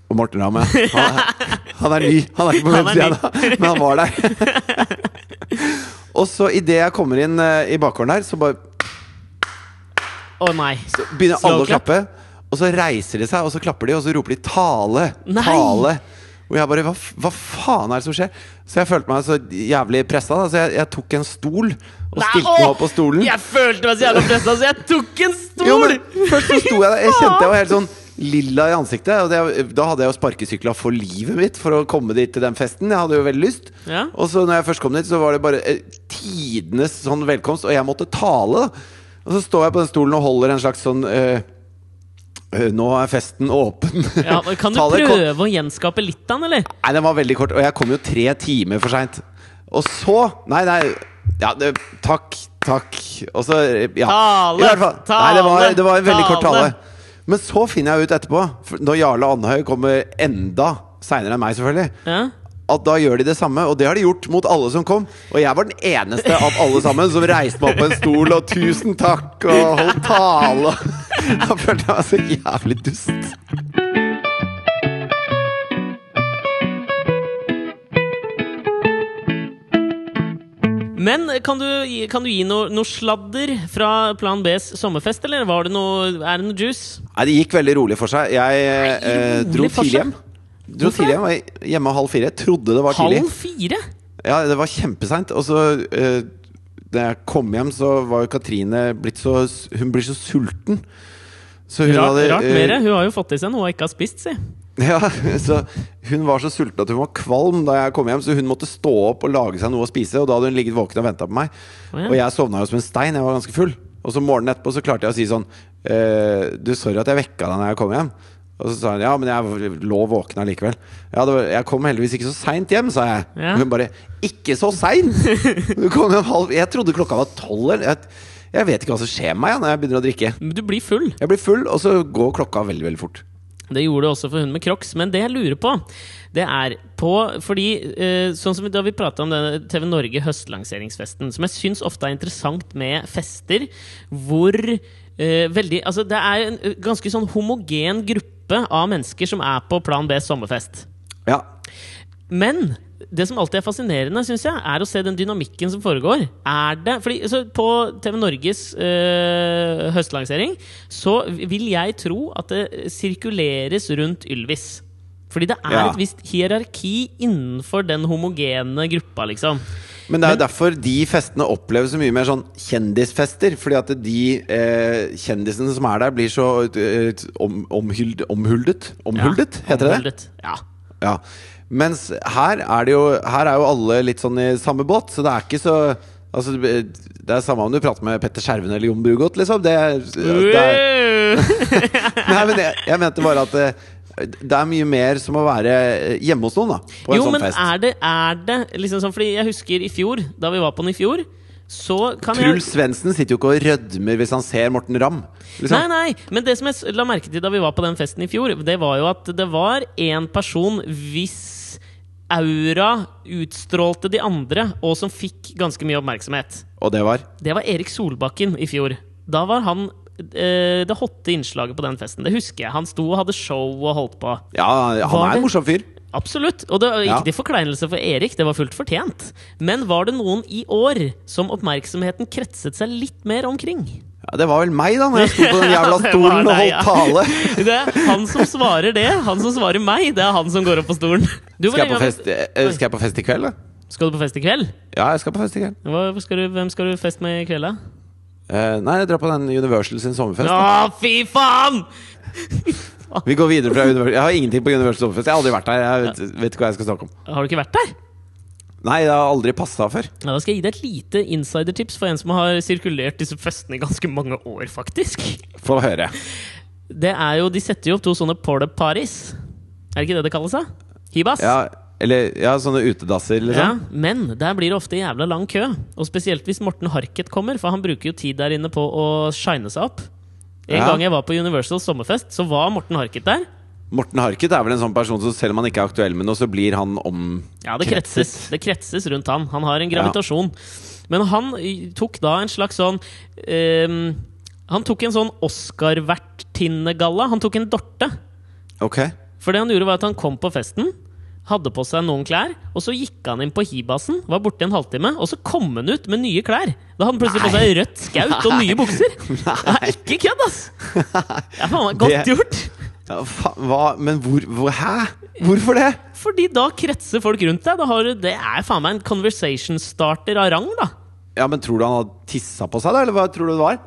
Speaker 2: Og Morten Ramm, ja. Han, er- han er ny. Han er ikke
Speaker 1: Han
Speaker 2: på
Speaker 1: er
Speaker 2: venstresida,
Speaker 1: ny.
Speaker 2: da, men han var der. Og så idet jeg kommer inn eh, i bakgården her, så bare
Speaker 1: Å nei.
Speaker 2: så begynner
Speaker 1: Slow
Speaker 2: alle å
Speaker 1: clap.
Speaker 2: klappe. Og så reiser de seg, og så klapper de, og så roper de 'tale',
Speaker 1: Nei.
Speaker 2: 'tale'. Og jeg bare hva, f- hva faen er det som skjer? Så jeg følte meg så jævlig pressa, da. Så jeg, jeg tok en stol og
Speaker 1: Nei,
Speaker 2: stilte meg
Speaker 1: åh!
Speaker 2: opp på stolen.
Speaker 1: Jeg følte meg så jævla pressa, så jeg tok en stol!
Speaker 2: Jo, men først så sto jeg der. Jeg kjente jeg var helt sånn lilla i ansiktet. Og det, da hadde jeg jo sparkesykla for livet mitt for å komme dit til den festen. Jeg hadde jo veldig lyst.
Speaker 1: Ja.
Speaker 2: Og så når jeg først kom dit, så var det bare eh, tidenes sånn velkomst, og jeg måtte tale. da Og så står jeg på den stolen og holder en slags sånn eh, eh, Nå er festen åpen.
Speaker 1: Ja, men
Speaker 2: [laughs]
Speaker 1: kan du
Speaker 2: Tale kom-
Speaker 1: prøve å gjenskape litt av den, eller?
Speaker 2: Nei, den var veldig kort, og jeg kom jo tre timer for seint. Og så Nei, nei. Ja, det, takk, takk. Og så ja.
Speaker 1: Tale,
Speaker 2: I hvert fall. Nei, det var, det var en veldig kort
Speaker 1: tale.
Speaker 2: tale. Men så finner jeg ut etterpå, for når Jarle Andhaug kommer enda seinere enn meg, selvfølgelig,
Speaker 1: Ja.
Speaker 2: at da gjør de det samme, og det har de gjort mot alle som kom. Og jeg var den eneste av alle sammen som reiste meg opp på en stol og 'tusen takk' og holdt tale. [laughs] Da følte jeg meg så jævlig dust.
Speaker 1: Men kan du, gi- kan du gi noe, noe sladder fra Plan Bs sommerfest, eller var det noe, er det noe juice?
Speaker 2: Nei, det gikk veldig rolig for seg. Jeg eh, dro
Speaker 1: rolig for
Speaker 2: tidlig
Speaker 1: seg?
Speaker 2: hjem. Dro tidlig hjem, var Hjemme halv fire. Trodde det var tidlig.
Speaker 1: Halv fire?
Speaker 2: Ja, det var kjempeseint. Og så eh, Da jeg kom hjem, så var jo Katrine blitt så Hun blir så sulten. Så hun
Speaker 1: Rart, rart
Speaker 2: eh,
Speaker 1: mere. Hun har jo fått i seg noe hun ikke har spist, si.
Speaker 2: [laughs] Ja, så Hun var så sulten at hun var kvalm da jeg kom hjem, så hun måtte stå opp og lage seg noe å spise. Og da hadde hun ligget våken og venta på meg.
Speaker 1: Å ja.
Speaker 2: Og jeg sovna jo som en stein. Jeg var ganske full. Og så morgenen etterpå så klarte jeg å si sånn eh, Du, sorry at jeg vekka deg når jeg kom hjem. Og så sa hun ja, men jeg lå våken allikevel. Ja, det var, jeg kom heldigvis ikke så seint hjem, sa jeg.
Speaker 1: Ja.
Speaker 2: Hun bare Ikke så
Speaker 1: [laughs]
Speaker 2: seint! Du kom hjem halv Jeg trodde klokka var tolv eller jeg, jeg vet ikke hva som skjer med meg ja, når jeg begynner å drikke.
Speaker 1: Men Du blir full.
Speaker 2: Jeg blir full, og så går klokka veldig, veldig fort.
Speaker 1: Det gjorde det også for hun med crocs. Men det jeg lurer på, det er på Fordi eh, sånn som da vi prata om denne TV Norge høstlanseringsfesten, som jeg syns ofte er interessant med fester hvor eh, veldig Altså, det er en eh, ganske sånn homogen gruppe av mennesker som er på Plan B sommerfest.
Speaker 2: Ja,
Speaker 1: Men det som alltid er fascinerende, synes jeg, er å se den dynamikken som foregår. Er det, fordi altså, På TV Norges eh, høstlansering så vil jeg tro at det sirkuleres rundt Ylvis. Fordi det er
Speaker 2: Ja.
Speaker 1: et visst hierarki innenfor den homogene gruppa, liksom.
Speaker 2: Men det er jo derfor de festene oppleves så mye mer sånn kjendisfester. Fordi at de eh, kjendisene som er der, blir så eh, om, omhyld, omhuldet. Omhuldet, heter det det?
Speaker 1: Omhuldet. Ja.
Speaker 2: Ja. Mens her er, det jo, her er jo alle litt sånn i samme båt, så det er ikke så Altså, det er samme om du prater med Petter Skjerven eller Jon Brugodt, liksom. Det, er- det er,
Speaker 1: [laughs] Øh!
Speaker 2: nei, men jeg, jeg mente bare at eh, det er mye mer som å være eh, hjemme hos noen, da. [laughs] På en
Speaker 1: jo,
Speaker 2: sånn
Speaker 1: men
Speaker 2: fest.
Speaker 1: er det, er det liksom sånn Fordi jeg husker i fjor, da vi var på den i fjor, så kan jeg
Speaker 2: Truls Svendsen sitter jo ikke og rødmer hvis han ser Morten Ramm. Liksom.
Speaker 1: Nei, nei, men det som jeg s- la merke til da vi var på den festen i fjor, det var jo at det var en person hvis aura utstrålte de andre, og som fikk ganske mye oppmerksomhet.
Speaker 2: Og det var
Speaker 1: Det var Erik Solbakken i fjor. Da var han eh, det hotte innslaget på den festen. Det husker jeg. Han sto og hadde show og holdt på.
Speaker 2: Ja, han
Speaker 1: Var
Speaker 2: er
Speaker 1: det-
Speaker 2: en morsom fyr.
Speaker 1: Absolutt. Og det var ikke
Speaker 2: Ja.
Speaker 1: til forkleinelse for Erik, det var fullt fortjent. Men var det noen i år som oppmerksomheten kretset seg litt mer omkring?
Speaker 2: Ja, det var vel meg, da, når jeg sto
Speaker 1: [laughs]
Speaker 2: på den
Speaker 1: Ja,
Speaker 2: jævla
Speaker 1: det var
Speaker 2: stolen og
Speaker 1: deg,
Speaker 2: holdt
Speaker 1: ja. [laughs]
Speaker 2: tale.
Speaker 1: Det er han som svarer det. Han som svarer meg, det er han som går opp på stolen. Du, hvor
Speaker 2: Skal jeg,
Speaker 1: lenge
Speaker 2: på
Speaker 1: har-
Speaker 2: fest, eh, skal jeg på fest i kveld, da?
Speaker 1: Skal du på fest i kveld?
Speaker 2: Ja, jeg skal på fest i kveld.
Speaker 1: Hva skal du, hvem skal du fest med i kveld, da?
Speaker 2: Eh, nei, jeg drar på den Universal sin sommerfest.
Speaker 1: Å, fy faen!
Speaker 2: Vi går videre fra Universal Jeg har ingenting på Universal sommerfest. Jeg har aldri vært der. Jeg vet, vet ikke hva jeg skal snakke om.
Speaker 1: Har du ikke vært der?
Speaker 2: Nei, det har aldri passa før.
Speaker 1: Ja, da skal jeg gi deg et lite insidertips for en som har sirkulert disse festene i ganske mange år, faktisk.
Speaker 2: Få høre.
Speaker 1: Det er jo, De setter jo opp to sånne porta parties. Er det ikke det det kalles? da? Hibas?
Speaker 2: Ja, eller ja, sånne utedasser,
Speaker 1: Ja,
Speaker 2: liksom.
Speaker 1: men der blir det ofte jævla lang kø. Og spesielt hvis Morten Harket kommer, for han bruker jo tid der inne på å shine seg opp. En
Speaker 2: Ja.
Speaker 1: gang jeg var på Universal sommerfest, så var Morten Harket der.
Speaker 2: Morten Harket er vel en sånn person som selv om han ikke er aktuell med noe, så blir han om
Speaker 1: Ja, det kretses. Det kretses rundt han. Han har en
Speaker 2: Ja.
Speaker 1: gravitasjon. Men han y- tok da en slags sånn ehm, Han tok en sånn Oscar-vertinnegalla. Han tok en dorte.
Speaker 2: Ok. [laughs]
Speaker 1: For det han gjorde, var at han kom på festen. Hadde på seg noen klær, og så gikk han inn på hibasen, var borte en halvtime, og så kom han ut med nye klær! Da hadde han plutselig på seg rødt skaut og nye bukser! Det er ikke kødd, ass! Det er faen meg godt
Speaker 2: Det-
Speaker 1: gjort!
Speaker 2: Ja, fa hva? Men hvor, hvor Hæ? Hvorfor det?
Speaker 1: Fordi da kretser folk rundt deg. Da har du, det er faen meg en conversation starter av rang, da.
Speaker 2: Ja, men tror du han hadde tissa på seg, da? Eller hva tror du det var?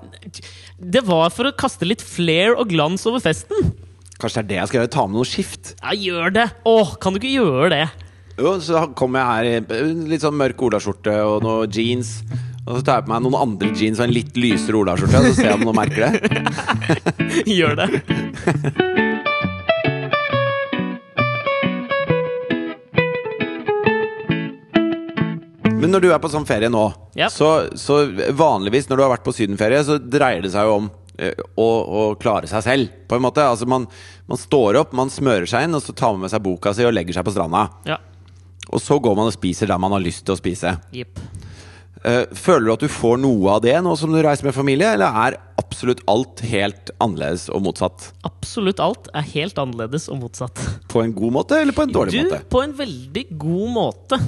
Speaker 1: Det var for å kaste litt flair og glans over festen.
Speaker 2: Kanskje det er det jeg skal gjøre? Ta med noe skift?
Speaker 1: Ja, gjør det! Åh, kan du ikke gjøre det? [laughs]
Speaker 2: Jo, så kommer jeg her i en litt sånn mørk olaskjorte og noe jeans. Og så tar jeg på meg noen andre jeans og en litt lysere olaskjorte. og Så ser jeg om noen merker det.
Speaker 1: Gjør det.
Speaker 2: Men når du er på sånn ferie nå,
Speaker 1: Ja.
Speaker 2: så, så vanligvis når du har vært på sydenferie, så dreier det seg jo om eh, å, å klare seg selv, på en måte. Altså man, man står opp, man smører seg inn, og så tar man med seg boka si og legger seg på stranda.
Speaker 1: Ja.
Speaker 2: Og så går man og spiser der man har lyst til å spise.
Speaker 1: Jepp.
Speaker 2: Eh, Føler du at du får noe av det nå som du reiser med familie, eller er absolutt alt helt annerledes og motsatt?
Speaker 1: Absolutt alt er helt annerledes og motsatt.
Speaker 2: På en god måte eller på en dårlig
Speaker 1: Du,
Speaker 2: måte?
Speaker 1: på en veldig god
Speaker 2: [laughs]
Speaker 1: måte.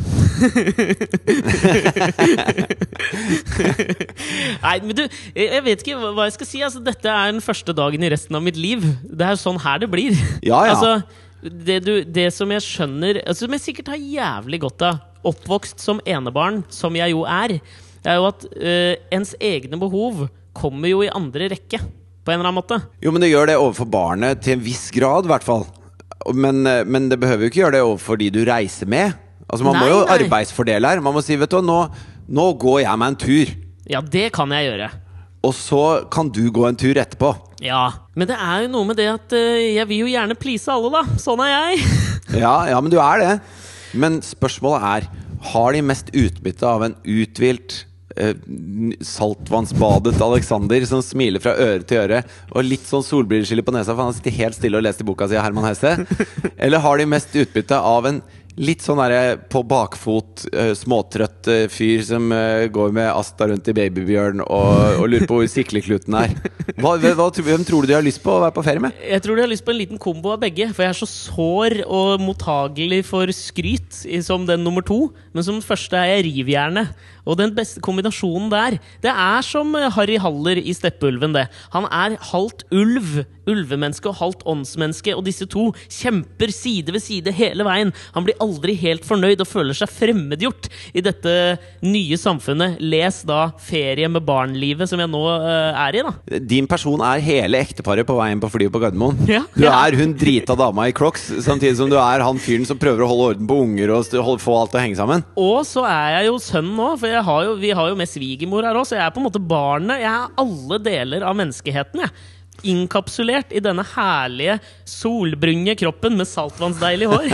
Speaker 1: Nei, men du, jeg vet ikke hva jeg skal si. Altså, dette er den første dagen i resten av mitt liv. Det er sånn her det blir.
Speaker 2: Ja, ja.
Speaker 1: Altså, det, du, det som jeg skjønner altså, Som jeg sikkert har jævlig godt av, oppvokst som enebarn, som jeg jo er, er jo at øh, ens egne behov kommer jo i andre rekke, på en eller annen måte.
Speaker 2: Jo, men det gjør det overfor barnet til en viss grad, i hvert fall. Og- Men, eh, men det behøver jo ikke gjøre det overfor de du reiser med. Altså Man må
Speaker 1: Nei,
Speaker 2: jo
Speaker 1: nei.
Speaker 2: arbeidsfordele her. Man må si vet du hva, nå, nå går jeg meg en tur,
Speaker 1: Ja, det kan jeg gjøre.
Speaker 2: og så kan du gå en tur etterpå.
Speaker 1: Ja, men det er jo noe med det at eh, jeg vil jo gjerne please alle, da. Sånn er jeg.
Speaker 2: Ja, ja, men du er det. Men spørsmålet er har de mest utbytte av en uthvilt, eh, n- saltvannsbadet Alexander som smiler fra øre til øre og litt sånn solbrilleskille på nesa, for han sitter helt stille og leser i boka si av Herman Hesse? Eller har de mest utbytte av en litt sånn derre på bakfot, eh, småtrøtt eh, fyr som eh, går med Asta rundt i Babybjørn og, og lurer på hvor siklekluten er? Hva, hva, hvem tror du de har lyst på å være på ferie med?
Speaker 1: Jeg tror de har lyst på en liten kombo av begge, for jeg er så sår og mottagelig for skryt i- som den nummer to. Men som den første er jeg rivjernet. Og den beste kombinasjonen der, det er som eh, Harry Haller i Steppeulven, det. Han er halvt ulv, ulvemenneske og halvt åndsmenneske, og disse to kjemper side ved side hele veien. Han blir aldri helt fornøyd og føler seg fremmedgjort i dette nye samfunnet. Les da Ferie med barn-livet, som jeg nå eh, er i, da.
Speaker 2: Din person er hele ekteparet på veien på flyet på Gardermoen.
Speaker 1: [laughs] Ja.
Speaker 2: Du er hun drita dama i crocs, samtidig som du er han fyren som prøver å holde orden på unger og st- holde- få alt til å henge sammen.
Speaker 1: Og så er jeg jo sønn nå, for jeg har jo, vi har jo med svigermor her òg, så jeg er på en måte barnet. Jeg er alle deler av menneskeheten, jeg. Inkapsulert i denne herlige solbrune kroppen med saltvannsdeilig hår.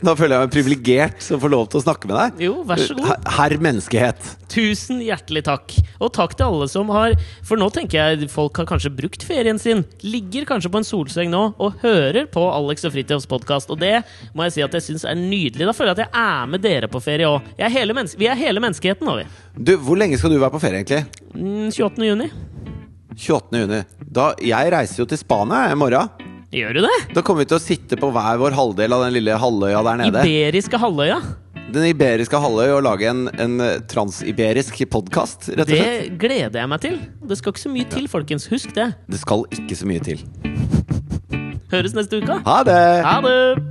Speaker 2: Da føler jeg meg privilegert som får lov til å snakke med deg.
Speaker 1: Jo, vær så god.
Speaker 2: Her- Herr menneskehet.
Speaker 1: Tusen hjertelig takk. Og takk til alle som har For nå tenker jeg folk har kanskje brukt ferien sin, ligger kanskje på en solseng nå og hører på Alex og Fridtjofs podkast. Og det må jeg si at jeg syns er nydelig. Da føler jeg at jeg er med dere på ferie òg. Vi er hele menneskeheten nå, vi.
Speaker 2: Du, hvor lenge skal du være på ferie, egentlig?
Speaker 1: Mm, 28. juni.
Speaker 2: 28. juni. Da, jeg reiser jo til Spania jeg, i morgen.
Speaker 1: Gjør du det?
Speaker 2: Da kommer vi til å sitte på hver vår halvdel av den lille halvøya der nede.
Speaker 1: Iberiske halvøya.
Speaker 2: Den iberiske halvøy og lage en, en eh, transiberisk podkast, rett og
Speaker 1: Det
Speaker 2: slett.
Speaker 1: gleder jeg meg til. Det skal ikke så mye til, folkens. Husk det.
Speaker 2: Det skal ikke så mye til.
Speaker 1: Høres neste uke.
Speaker 2: Ha det!
Speaker 1: Ha det!